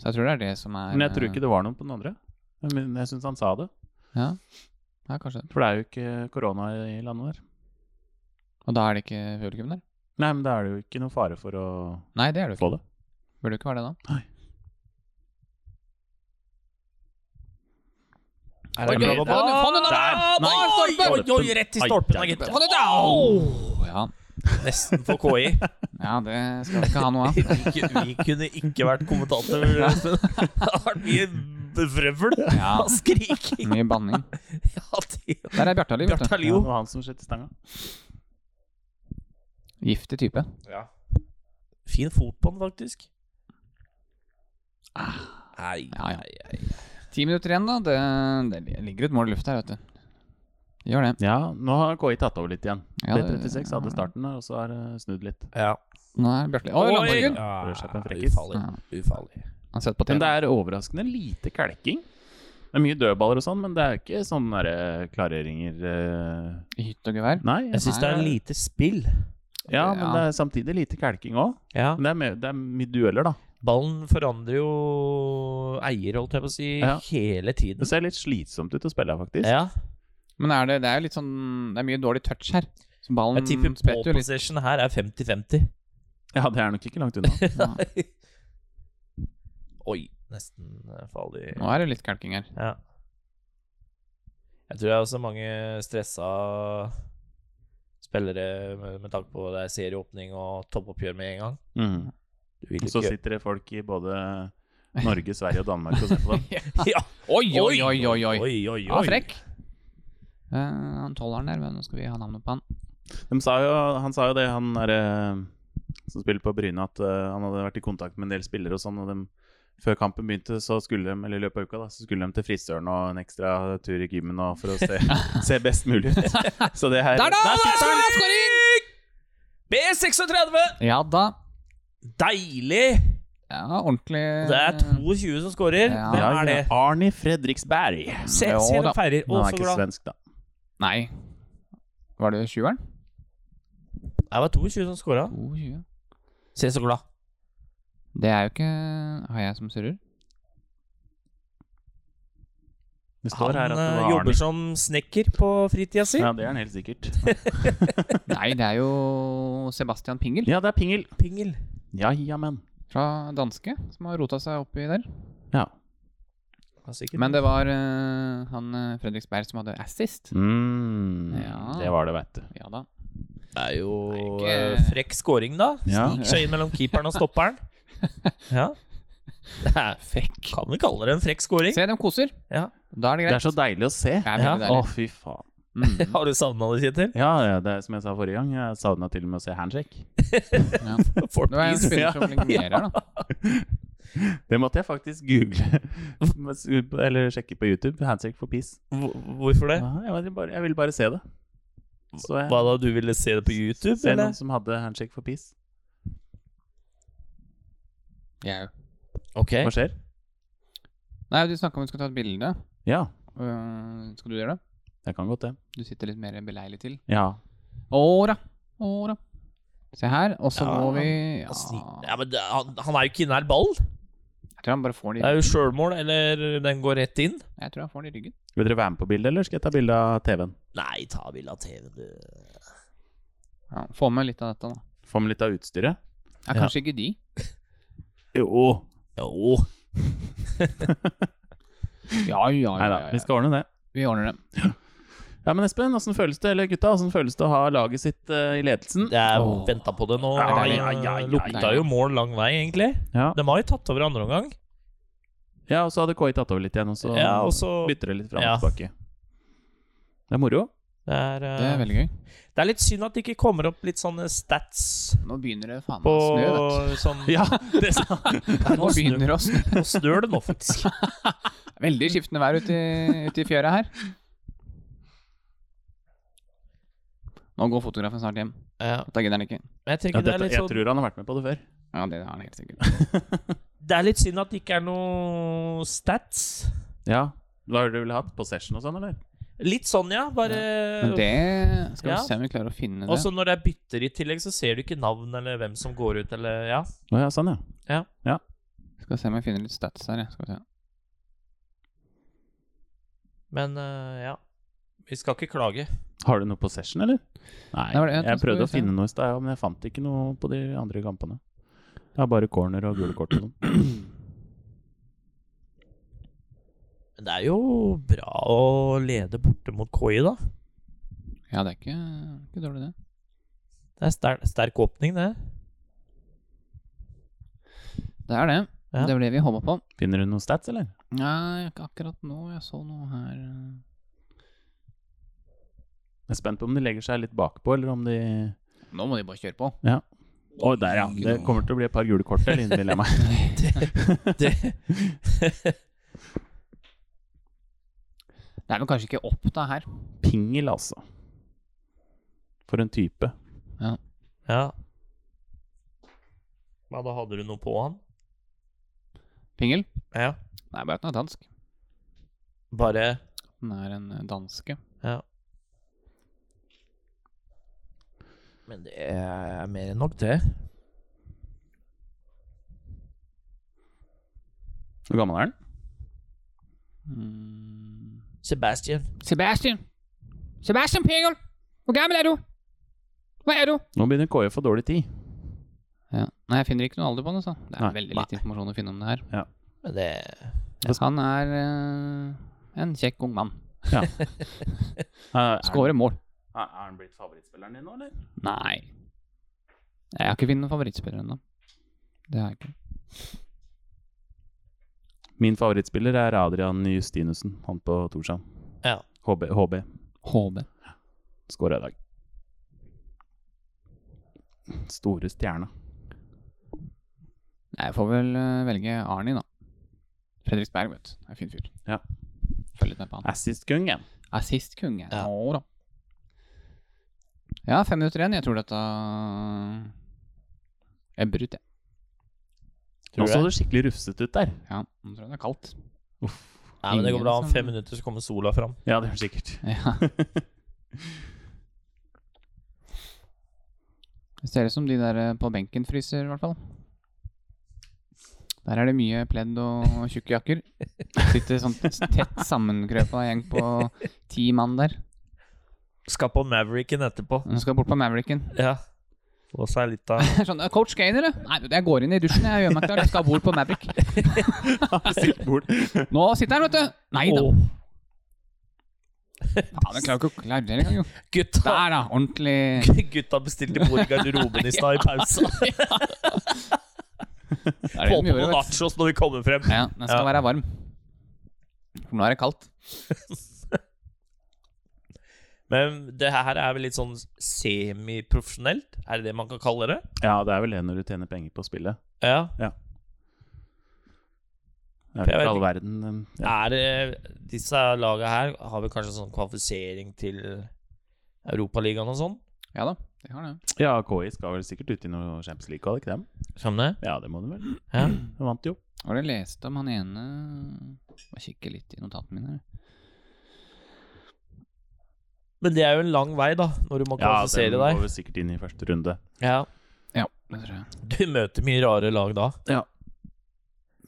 Så jeg tror det er det som er
Men jeg tror ikke det var noen på den andre. Men jeg syns han sa det.
Ja, ja kanskje.
For det er jo ikke korona i landet der.
Og da er det ikke publikum der?
Nei, men da er det jo ikke noen fare for å
Nei, det er det jo ikke.
få det.
Burde det ikke være det, da?
Er
det
bra,
mer?
bra, bra?
Få den da!
Der!
Nei,
Oi,
stolpen!
oi, oi, rett i
Ai,
stolpen, da,
ai,
gitt.
Få den da! Åh, ja.
Nesten for [LAUGHS] KI.
ja, det skal vi ikke ha noe av.
[LAUGHS] Vi kunne ikke vært kommentatorer. Det hadde vært mye vrøvl
Ja.
og skriking.
Mye banning.
Ja, de-
Der er Bjartali. vet du.
Bjartali,
Ja,
jo.
det var han som skjøt stanga.
Giftig type.
Fin fot på den, faktisk. Ah. Nei,
Ja, ja.
nei, nei.
Ti minutter igjen, da. Det, det ligger et mål i lufta her, vet du. Gjør det.
Ja, nå har KI tatt over litt igjen.
Ja, det-
B36 hadde starten der, og så har det snudd litt.
Ja.
Nå er Bjartali Oi, landbruken!
Ja,
Rødskjerp er en frekkis.
Ufarlig. Ufarlig.
Han setter på TV.
Men det er overraskende lite kalking. Det er mye dødballer og sånn, men det er ikke sånne der, eh, klareringer eh,
I hytt og gevær.
Nei.
Jeg syns det er lite spill.
Ja, men
Ja.
det er samtidig lite kalking òg.
Ja.
Men det er, mer- det er mye dueller, da.
Ballen forandrer jo eier, holdt jeg på å si,
Ja.
hele
Det
tiden.
ser litt slitsomt ut å spille, faktisk.
Ja.
Men er det, det er jo litt sånn Det er mye dårlig touch her. Så ballen
Jeg tipper
spretter jo litt.
possession her er 50-50.
Ja, det er nok ikke langt unna.
Ja.
[LAUGHS] Oi, nesten eh, farlig.
Nå er det litt kalking her.
Ja. Jeg tror det er også mange stressa spillere med, med tanke på det er serieåpning og toppoppgjør med en gang.
[LAUGHS] Mm.
Du vil
Og så
ikke
sitter det folk i både Norge, Sverige og Danmark og ser på dem.
Ja.
Oi, oi, oi, oi! oi.
oi, oi.
Ja, frekk. Eh, han tolveren der, men nå skal vi ha navnet på han.
De sa jo, han sa jo det, han der, eh, som spiller på Bryne, at eh, han hadde vært i kontakt med en del spillere og sånn. Og dem- før kampen begynte, så skulle de, eller i løpet av uka, da, så skulle de til frisøren og en ekstra tur i gymmen og for å
[LAUGHS]
se, se best mulig ut. Så det her
Der, da!
Der sitter han!
Der, skåring!
B36!
Ja da.
Deilig!
Ja, ordentlig
Det er 22 som scorer.
Eh. Ja.
Hvem
Ja,
er det?
ja. Arni Fredriksberg.
Se,
Ja,
se
da.
de feirer.
Han
Å,
er
så
ikke
glad.
svensk, da.
Nei. Var det sjueren?
Det var 22 som scora.
22.
Se, så glad.
Det er jo ikke Har jeg som surrer?
Det står
Han
her at det
eh,
var
jobber
Arni.
som snekker på fritida si.
Ja, det er han helt sikkert.
Nei, det er jo Sebastian Pingel
Ja, det er Pingel.
Pingel.
Ja, jamen.
fra danske som har rota seg oppi der.
Ja.
Ja, sikkert.
Men det var eh, han eh, Fredriksberg som hadde assist.
Mm,
Ja.
Det var det, veit du.
Ja da.
Det er jo
Det er ikke-
eh, frekk scoring, da.
Ja.
Snik seg inn mellom keeperen og stopperen. Ja. Det er frekk. Kan vi kalle det en frekk scoring?
Se, de koser.
Ja.
Da er det
Det er
greit.
så deilig å se.
Det er
Ja.
veldig
Å,
deilig.
fy faen.
Mm.
Har du savna det,
[LAUGHS]
Kjetil?
Ja, ja, det er som jeg sa forrige gang, jeg savna til og med å se handshake.
Ja.
For
Det var en
please.
spiller som lignerer, da.
Det måtte jeg faktisk google, [LAUGHS] eller sjekke på YouTube. Handshake for peace.
Hvor- Hvorfor det?
Ja, Jeg, var bare, jeg ville bare se det. Så jeg
Hva da, du ville se det på YouTube,
ser
eller?
noen som hadde handshake for peace.
Ja.
Ok.
Hva skjer?
Nei, du snakka om du skulle ta et bilde.
Ja,
Øh, skal du gjøre det?
jeg kan godt det.
Du sitter litt mer beleilig til.
Ja.
Åra, åra. Se her. Og så
Ja,
må vi ja,
Han snik- Ja, men det, han, han er jo ikke nær ball.
Jeg tror han bare får det
Det
i
er jo
ryggen.
sjølmål, eller den går rett inn.
Jeg tror han får det i ryggen.
Vil dere være med på bildet, eller skal jeg ta bilde av TV-en?
Nei, ta bilde av TV, du.
Ja, få med litt av dette, da.
Få med litt av utstyret?
Ja, kanskje ikke de.
Jo.
Jo.
Ja, ja,
Nei
ja,
da,
ja,
vi
ja.
skal ordne det.
Vi ordner det.
Ja, men Espen, åssen føles det eller gutta, hvordan føles det å ha laget sitt eh, i ledelsen?
Jeg
Åh.
venta på det nå.
Ja,
Det
ja, ja, ja,
Lukta
ja.
jo mål lang vei, egentlig.
Ja,
De har jo tatt over andre omgang.
ja og så hadde KI tatt over litt igjen, og så
Ja, og så
bytter det litt fram
Ja.
og tilbake. Det er moro.
Det er, eh,
Det er veldig gøy.
Det er litt synd at det ikke kommer opp litt sånne stats
Nå begynner det faen
på
meg å snø, vet [LAUGHS]
sånn [LAUGHS]
Ja, det sa
du. Nå begynner [LAUGHS] det å snø.
Nå snør det nå, faktisk.
Veldig skiftende vær ute i, ute i fjøra her. Nå går fotografen snart hjem.
Ja,
Dette gidder han ikke.
men jeg
Ja,
tenker det, er
dette,
litt
jeg
sånn,
tror han har vært med på det før.
Ja, det har han helt sikkert.
det er litt synd at det ikke er noe stats.
Ja. Hva har du vel hatt? Possession og sånn, eller?
Litt sånn, ja. [LAUGHS]
Men
Bare
det skal vi
Ja.
se om vi klarer å finne det.
Også når det er bytter i tillegg, så ser du ikke navn eller hvem som går ut, eller Ja.
Å ja, sånn, ja.
Skal se om jeg finner litt stats her. jeg. Skal vi se.
Men eh, ja. Vi skal ikke klage.
Har du noe possession, eller? Nei,
Nei, var det-
jeg
skal vi
prøvde å
se.
finne noe i stad, ja, men jeg fant ikke noe på de andre kampene. Det er bare corner og gule kort og sånn.
Men det er jo bra å lede borte mot KI, da.
Ja, det er ikke, ikke dårlig, det.
Det er ster sterk åpning, [LAUGHS] det.
Det er det.
Ja.
Det var det vi håpa på.
Finner du noe stats, eller?
Nei, ikke akkurat nå. Jeg så noe her eh.
Jeg er spent på om de legger seg litt bakpå, eller om de
Nå må de bare kjøre på.
Å, der, ja. Det kommer til å bli et par gule kort der, innbiller jeg
[LAUGHS]
meg.
Det,
Det er vel kanskje ikke opp da her.
Pingel, altså. For en type.
ja. Men da hadde du noe på han?
Pingel?
Ja.
Nei, bare at den er dansk.
Bare
Den er en eh, danske.
Men det er mer enn nok, det.
Hvor gammel er den?
Mm.
Sebastian.
Sebastian! Sebastian Pingel! Hvor gammel er du? Hva er du?
Nå begynner KI å få dårlig tid.
Ja. Nei, jeg finner ikke noe alder på han. Altså. Det er
Nei.
veldig lite informasjon å finne om det her.
Men det
Han er eh, en kjekk ung mann. Skårer mål.
Er han blitt favorittspilleren din nå, eller?
Nei. Jeg har ikke funnet noen favorittspiller ennå. Det har jeg ikke.
Min favorittspiller er Adrian Justinussen, han på Torsham.
Ja.
HB. HB.
HB.
Skåra i dag. Store stjerna.
Nei, jeg får vel eh, velge Arni, da. Fredriksberg, vet du. Er en fin fyr.
Ja.
Følg litt med på han.
Assist-kongen.
Assistkonge.
Ja.
Ja. da. Ja, fem minutter igjen. Jeg tror dette Jeg brutt, jeg.
Nå så
du
det skikkelig rufset ut der.
Ja, nå tror jeg det er kaldt.
Nei, men det går bra. Om
Ingen som-
fem minutter så kommer sola fram.
Ja, det gjør det
[LAUGHS]
sikkert.
Ja. Det ser ut som de der eh, på benken fryser, i hvert fall. Der er det mye pledd og tjukke jakker. Sitter sånn tett sammenkrøpa gjeng på ti mann der.
Skal på Mavericken etterpå.
Nå skal jeg bort på Mavericken.
Ja. Få seg litt av
Det er Sånn, «Eh, Coach Kane, eller? Nei, du, jeg går inn i dusjen. Jeg gjør meg klar. Jeg skal bort på Maverick.
Sikkert bort.
Nå sitter han, vet du. Nei da.
Åh,
Faen, jeg klarer ikke å klare det engang, jo.
gutta,
Der, da. Ordentlig
gutta bestilte bord i garderoben i [LAUGHS] stad i pausa.
Det er det
Få
de
på
gjorde,
noen
vet du.
nachos når altså. vi kommer frem.
Ja, den skal være varm. For nå er det kaldt.
Men det her er vel litt sånn semiprofesjonelt? Er det det man kan kalle det?
Ja, det er vel det når du tjener penger på spillet.
Ja.
Det er
For jeg
vel
vet
for all verden. um, Ja.
Er det Disse laga her har vel kanskje sånn kvalifisering til Europaligaen og sånn?
Ja da, det har det.
ja, KI skal vel sikkert ut i noe Champions League, hadde ikke dem?
Skjønner
Ja, det må du vel.
Ja.
De vant jo.
Var det jeg leste om han ene Jeg kikker litt i notatene mine. her.
[CLEARS THROAT] Men det er jo en lang vei, da, når du må
Ja,
kvalifisere
den
deg.
går vel sikkert inn i første runde.
Ja.
Ja, det tror jeg.
Du møter mye rare lag da.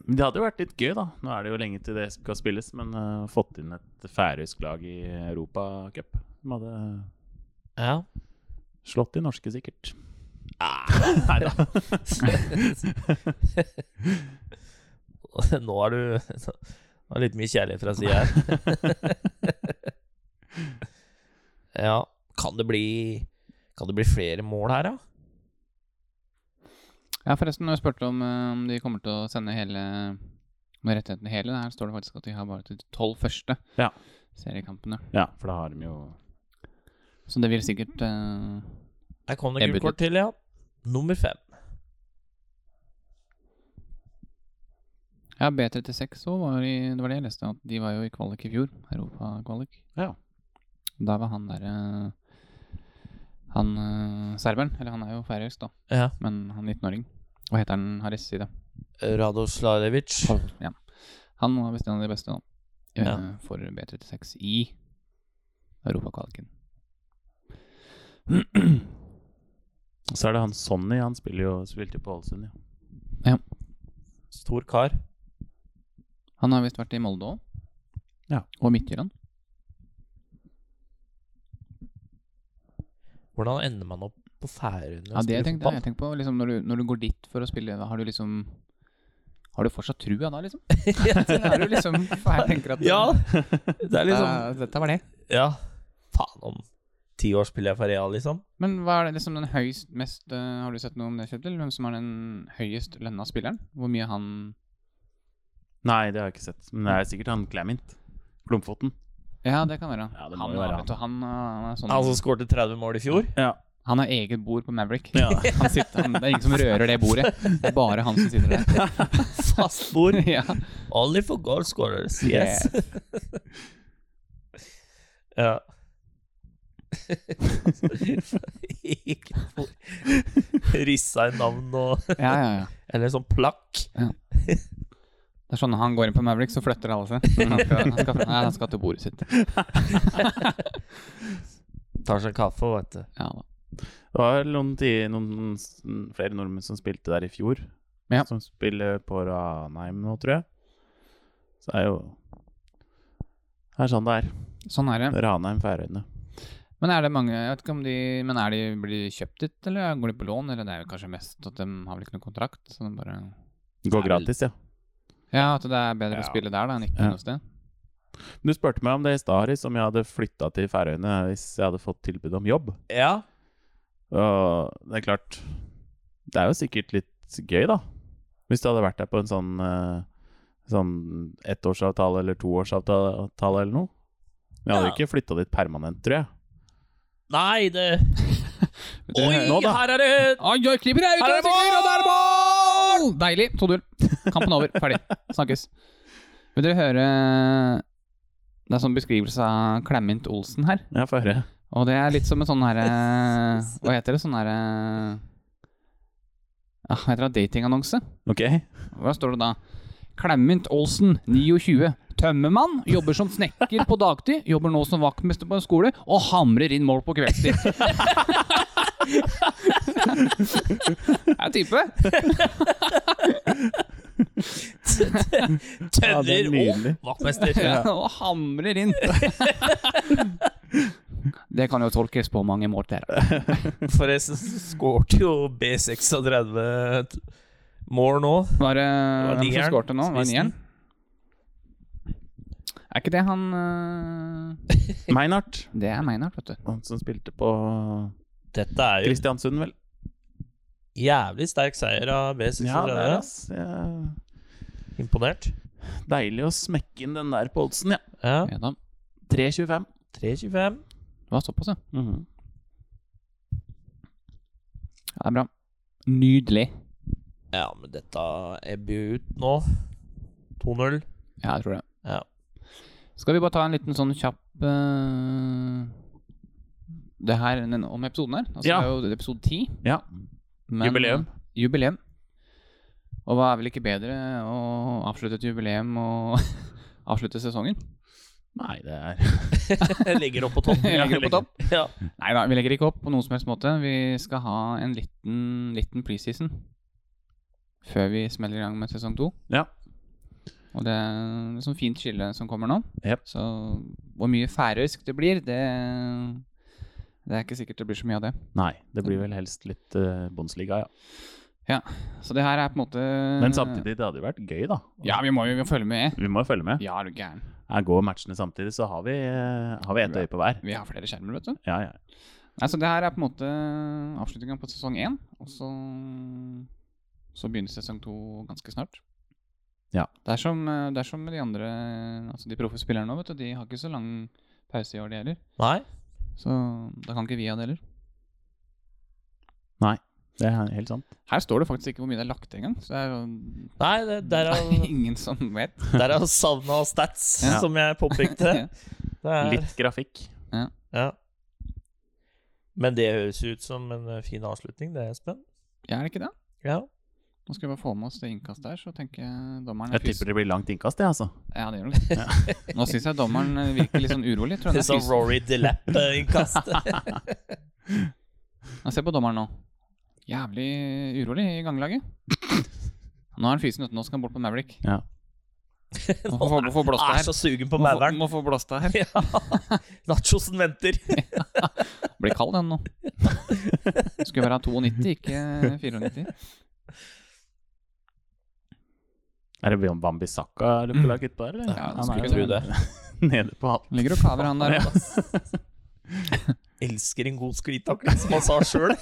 Men Det hadde jo vært litt gøy, da. Nå er det jo lenge til det skal spilles, men uh, fått inn et færøysk lag i Europacup. De hadde
Ja.
slått de norske, sikkert. [LAUGHS]
Nei da. [LAUGHS] Nå er du Nå er det litt mye kjærlighet fra sida her. ja. Kan det bli Kan det bli flere mål her, da?
Ja, forresten, når jeg spurte om, eh, om de kommer til å sende hele med rettighetene hele, her står det faktisk at de har bare til de tolv første
Ja.
seriekampene.
[LAUGHS] Ja, for da har de jo
Så det vil sikkert eh,
Her kom det
Jeg
gult kort til, ja. Nummer fem.
Ja, B36 òg var i Det var det jeg leste, at de var jo i kvalik i fjor. Europakvalik.
Ja.
Da var han derre Han eh, serberen, eller han er jo færøysk, da,
Ja.
men han 19-åring. Hva heter han Haris i det?
Radoslarevic.
Ja. Han var visst en av de beste, da. eh,
Ja.
For B36 i europakvaliken. [CLEARS THROAT]
Og så er det han Sonny, han spiller jo, spilte jo på Ålesund, ja.
Stor kar.
Han har visst vært i Molde òg.
Ja.
Og Midtjylland.
Hvordan ender man opp på Færøyene? og
Ja, det
spiller
tenkte jeg. jeg tenkte på, liksom, når, du, når du går dit for å spille, da har du liksom Har du fortsatt trua da,
[LAUGHS]
liksom?
fotball?
Da er du liksom Jeg tenker at
ja. [LAUGHS] Det er liksom
Dette- Dette var det.
Ja. Faen, om ti år spiller jeg for Real, liksom.
Men hva er det liksom den høyest mest eh, Har du sett noe om det, Kjetil? Hvem som er den høyest lønna spilleren? Hvor mye han
Nei, det har jeg ikke sett. Men det er sikkert han Clement. Glomfoten.
Ja, det kan være.
Ja, det må
han,
jo være han.
har-
Altså,
vet du, han, uh, han er sånn
Han som skårte 30 mål i
[LAUGHS]
fjor?
Ja.
Han har eget bord på Maverick.
Ja.
[LAUGHS] Han sitter, han, det er ingen som rører det bordet. Det er bare han som sitter
[LAUGHS]
der.
Fast bord.
ja.
Only for goal scorers, yes. [LAUGHS] ja. Ikke for- Rissa i navn og
ja, ja, ja.
Eller sånn plakk.
Det er sånn han går inn på Maverick, så flytter alle seg. Han skal, han skal, nei, han skal til bordet sitt.
Tar seg en kaffe, vet du.
Ja, da.
Det var noen, ti, noen s- flere nordmenn som spilte der i fjor.
Ja.
Som spiller på Ranheim nå, tror jeg. Så det er jo Det er sånn det er.
Sånn er det.
Ranheim, Færøyene.
Men er det mange jeg vet ikke om de, Men er de, blir de kjøpt dit, eller går de på lån? Eller det er jo kanskje mest at de har vel ikke noen kontrakt? Så de bare
Det
Det
Går
er vel-
gratis, ja.
Ja, at det er bedre å
Ja.
spille der da enn ikke
Ja.
noe sted?
Du spurte meg om det i stad, Haris, om jeg hadde flytta til Færøyene hvis jeg hadde fått tilbud om jobb.
Ja.
Og det er klart Det er jo sikkert litt gøy, da. Hvis du hadde vært der på en sånn, eh, sånn ettårsavtale eller toårsavtale eller noe. Men jeg hadde
Ja.
ikke flytta dit permanent, tror jeg.
Nei, det
Det-
Oi,
nå da.
her er det
Oi, oi, klipper er ute!
Her er det mål!
og det er mål! Deilig. 2-0. Kampen
[LAUGHS]
over. Ferdig. Snakkes. Vil dere høre Det er sånn beskrivelse av Clement Olsen her.
Ja, få høre.
Og det er litt som en sånn herre
[LAUGHS]
Hva heter det? Sånn herre ja, Hva heter det? Datingannonse?
Ok.
Hva står det da? Clement Olsen, 29. Tømmermann. Jobber som snekker på dagtid. Jobber nå som vaktmester på en skole. Og hamrer inn mål på kveldstid. Det er type.
Ja, det er
Tønner og
nydelig.
vaktmester.
Ja. Og hamrer inn. Det kan jo tolkes på mange måter.
Forresten skårte jo B36 t- mål nå.
Var det
var
hvem som
nieren.
skårte nå? Var det nieren?
Spissen.
Er ikke det han øh,
Meinhardt,
Det er Meinhardt, vet du.
han som spilte på
Dette er jo
Kristiansund, vel?
jævlig sterk seier av B36.
det er ass. Ja.
Imponert.
Deilig å smekke inn den der på oddsen, ja.
Ja.
Ja, da.
3,25.
3,25.
Det var såpass, ja.
Mhm.
Ja, Det er bra. Nydelig.
Ja, men dette ebber jo ut nå. 2-0.
Ja, jeg tror det.
Ja.
Skal vi bare ta en liten sånn kjapp øh, Det her den, om episoden her. Altså,
Ja.
Det er jo episode ti.
Ja.
Men,
Jubileum.
eh, Jubileum. Og hva er vel ikke bedre å avslutte et jubileum og [LAUGHS] avslutte sesongen?
Nei, det er
[LAUGHS] Jeg ligger opp på topp.
Jeg ligger opp på topp.
[LAUGHS] Ja.
Nei da, vi legger ikke opp på noen som helst måte. Vi skal ha en liten, liten preseason før vi smeller i gang med sesong to.
Ja.
Og det er et sånt fint skille som kommer nå.
Jep.
Så hvor mye færøysk det blir, det, det er ikke sikkert det blir så mye av det.
Nei, det blir vel helst litt uh, Bundesliga, ja.
Så det her er på en måte
Men samtidig, det hadde jo vært gøy, da.
Ja, vi må jo vi må følge med.
Vi må jo følge med.
Ja, er du gæren.
Her går matchene samtidig, så har vi, eh, har vi ett øye på hver.
Vi har flere skjermer, vet du.
Ja, ja.
Nei, så det her er på en måte avslutninga på sesong én. Og så, så begynner sesong to ganske snart.
Ja.
Det er som, eh, det er som med de andre Altså de proffe spillerne nå, vet du. De har ikke så lang pause i år, de heller.
Nei.
Så da kan ikke vi ha det heller.
Det er helt sant.
Her står det faktisk ikke hvor mye det er lagt til engang. Så det er jo
Nei, det, der er
ingen som vet.
der er savna stats,
Ja.
som jeg påpekte.
[LAUGHS] Ja.
[LAUGHS] Det er,
Litt grafikk.
Ja. Men det høres jo ut som en eh, fin avslutning, det, Espen.
Ja, er det ikke det?
Ja.
Nå skal vi bare få med oss det innkastet her, så tenker jeg dommeren
Jeg
er fys...
tipper det blir langt innkast, jeg, altså.
Ja, det gjør nok
[LAUGHS]
det. Nå syns jeg dommeren virker litt sånn urolig. Tror han
Litt
er
sånn
fys...
Rory DeLapp-innkast.
Ja, se på dommeren nå. Jævlig urolig i ganglaget. Nå er han fysen ute. Nå skal han bort på Maverick.
Ja.
Må få, må få blåst det
[LAUGHS] Er
her.
så sugen på
Må få,
mauren.
må få blåst det her.
Ja. Nachosen venter.
Blir kald
[LAUGHS]
den nå. Skulle være 92, ikke 94.
Er det Bambi Saka løper lag utpå der, eller?
Ja,
Han er
skulle
jo
tro
[LAUGHS]
[LAUGHS]
Nede på halv.
Ligger og kaver han der. [LAUGHS]
Elsker en god sklitakling, som han sa sjøl.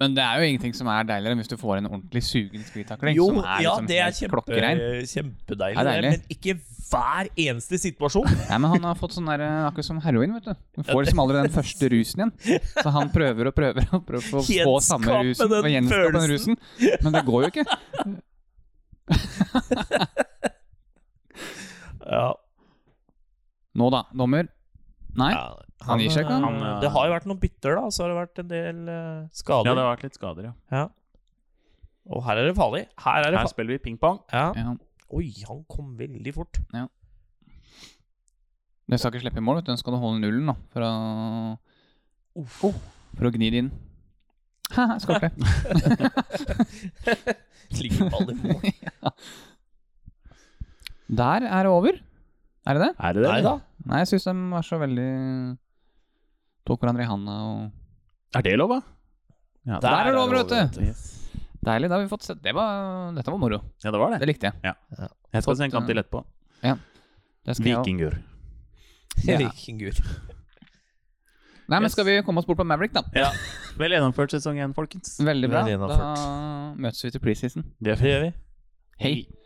Men det er jo ingenting som er deiligere enn hvis du får en ordentlig sugende sklitakling.
Jo,
som er
ja,
liksom
det er
helt
kjempe,
klokkerein.
kjempedeilig,
Det er
det,
deilig.
men ikke hver eneste
[LAUGHS]
situasjon.
Nei, men han har fått sånn der, eh, akkurat som heroin, vet du. Du får liksom aldri den første rusen igjen. Så han prøver og prøver og prøver å få
Gjenskape
samme rusen.
den
Og gjenskape den rusen. Men det går jo ikke.
Ja,
Nå da, dommer. Nei.
ja,
Han gir seg ikke, han.
eh, Det har jo vært noen bytter, da. Så har det vært en del eh,
Ja, det
skader.
har vært litt skader, ja.
og her er det farlig. Her er det
Her
farlig.
spiller vi ping-pong.
Ja.
Ja.
Oi, han kom veldig fort.
Den skal ikke slippe i mål, vet du. Den skal du holde nullen nå, for å,
Uff.
Oh. for å gni det inn. [LAUGHS] Haha, Skårte.
Ligger ball i
[LAUGHS]
mål.
Der er det over. Er det det?
Er det det?
Nei da.
Nei, jeg syns de var så veldig Tok hverandre i handa og
Er det lov, da? Ja,
Der er det over, vet
vet du.
Deilig. Da har vi fått sett det var, Dette var moro.
Ja, det var
Det
det.
likte jeg.
Jeg skal
fått,
se en kamp til etterpå.
Det skal jeg også.
Vikingur.
Ja.
Vikingur.
Nei, men skal vi komme oss bort på Maverick, da?
Ja. Vel gjennomført sesong én, folkens.
Veldig bra.
Veldig
Da møtes vi til preseason.
Det gjør vi.
Hei.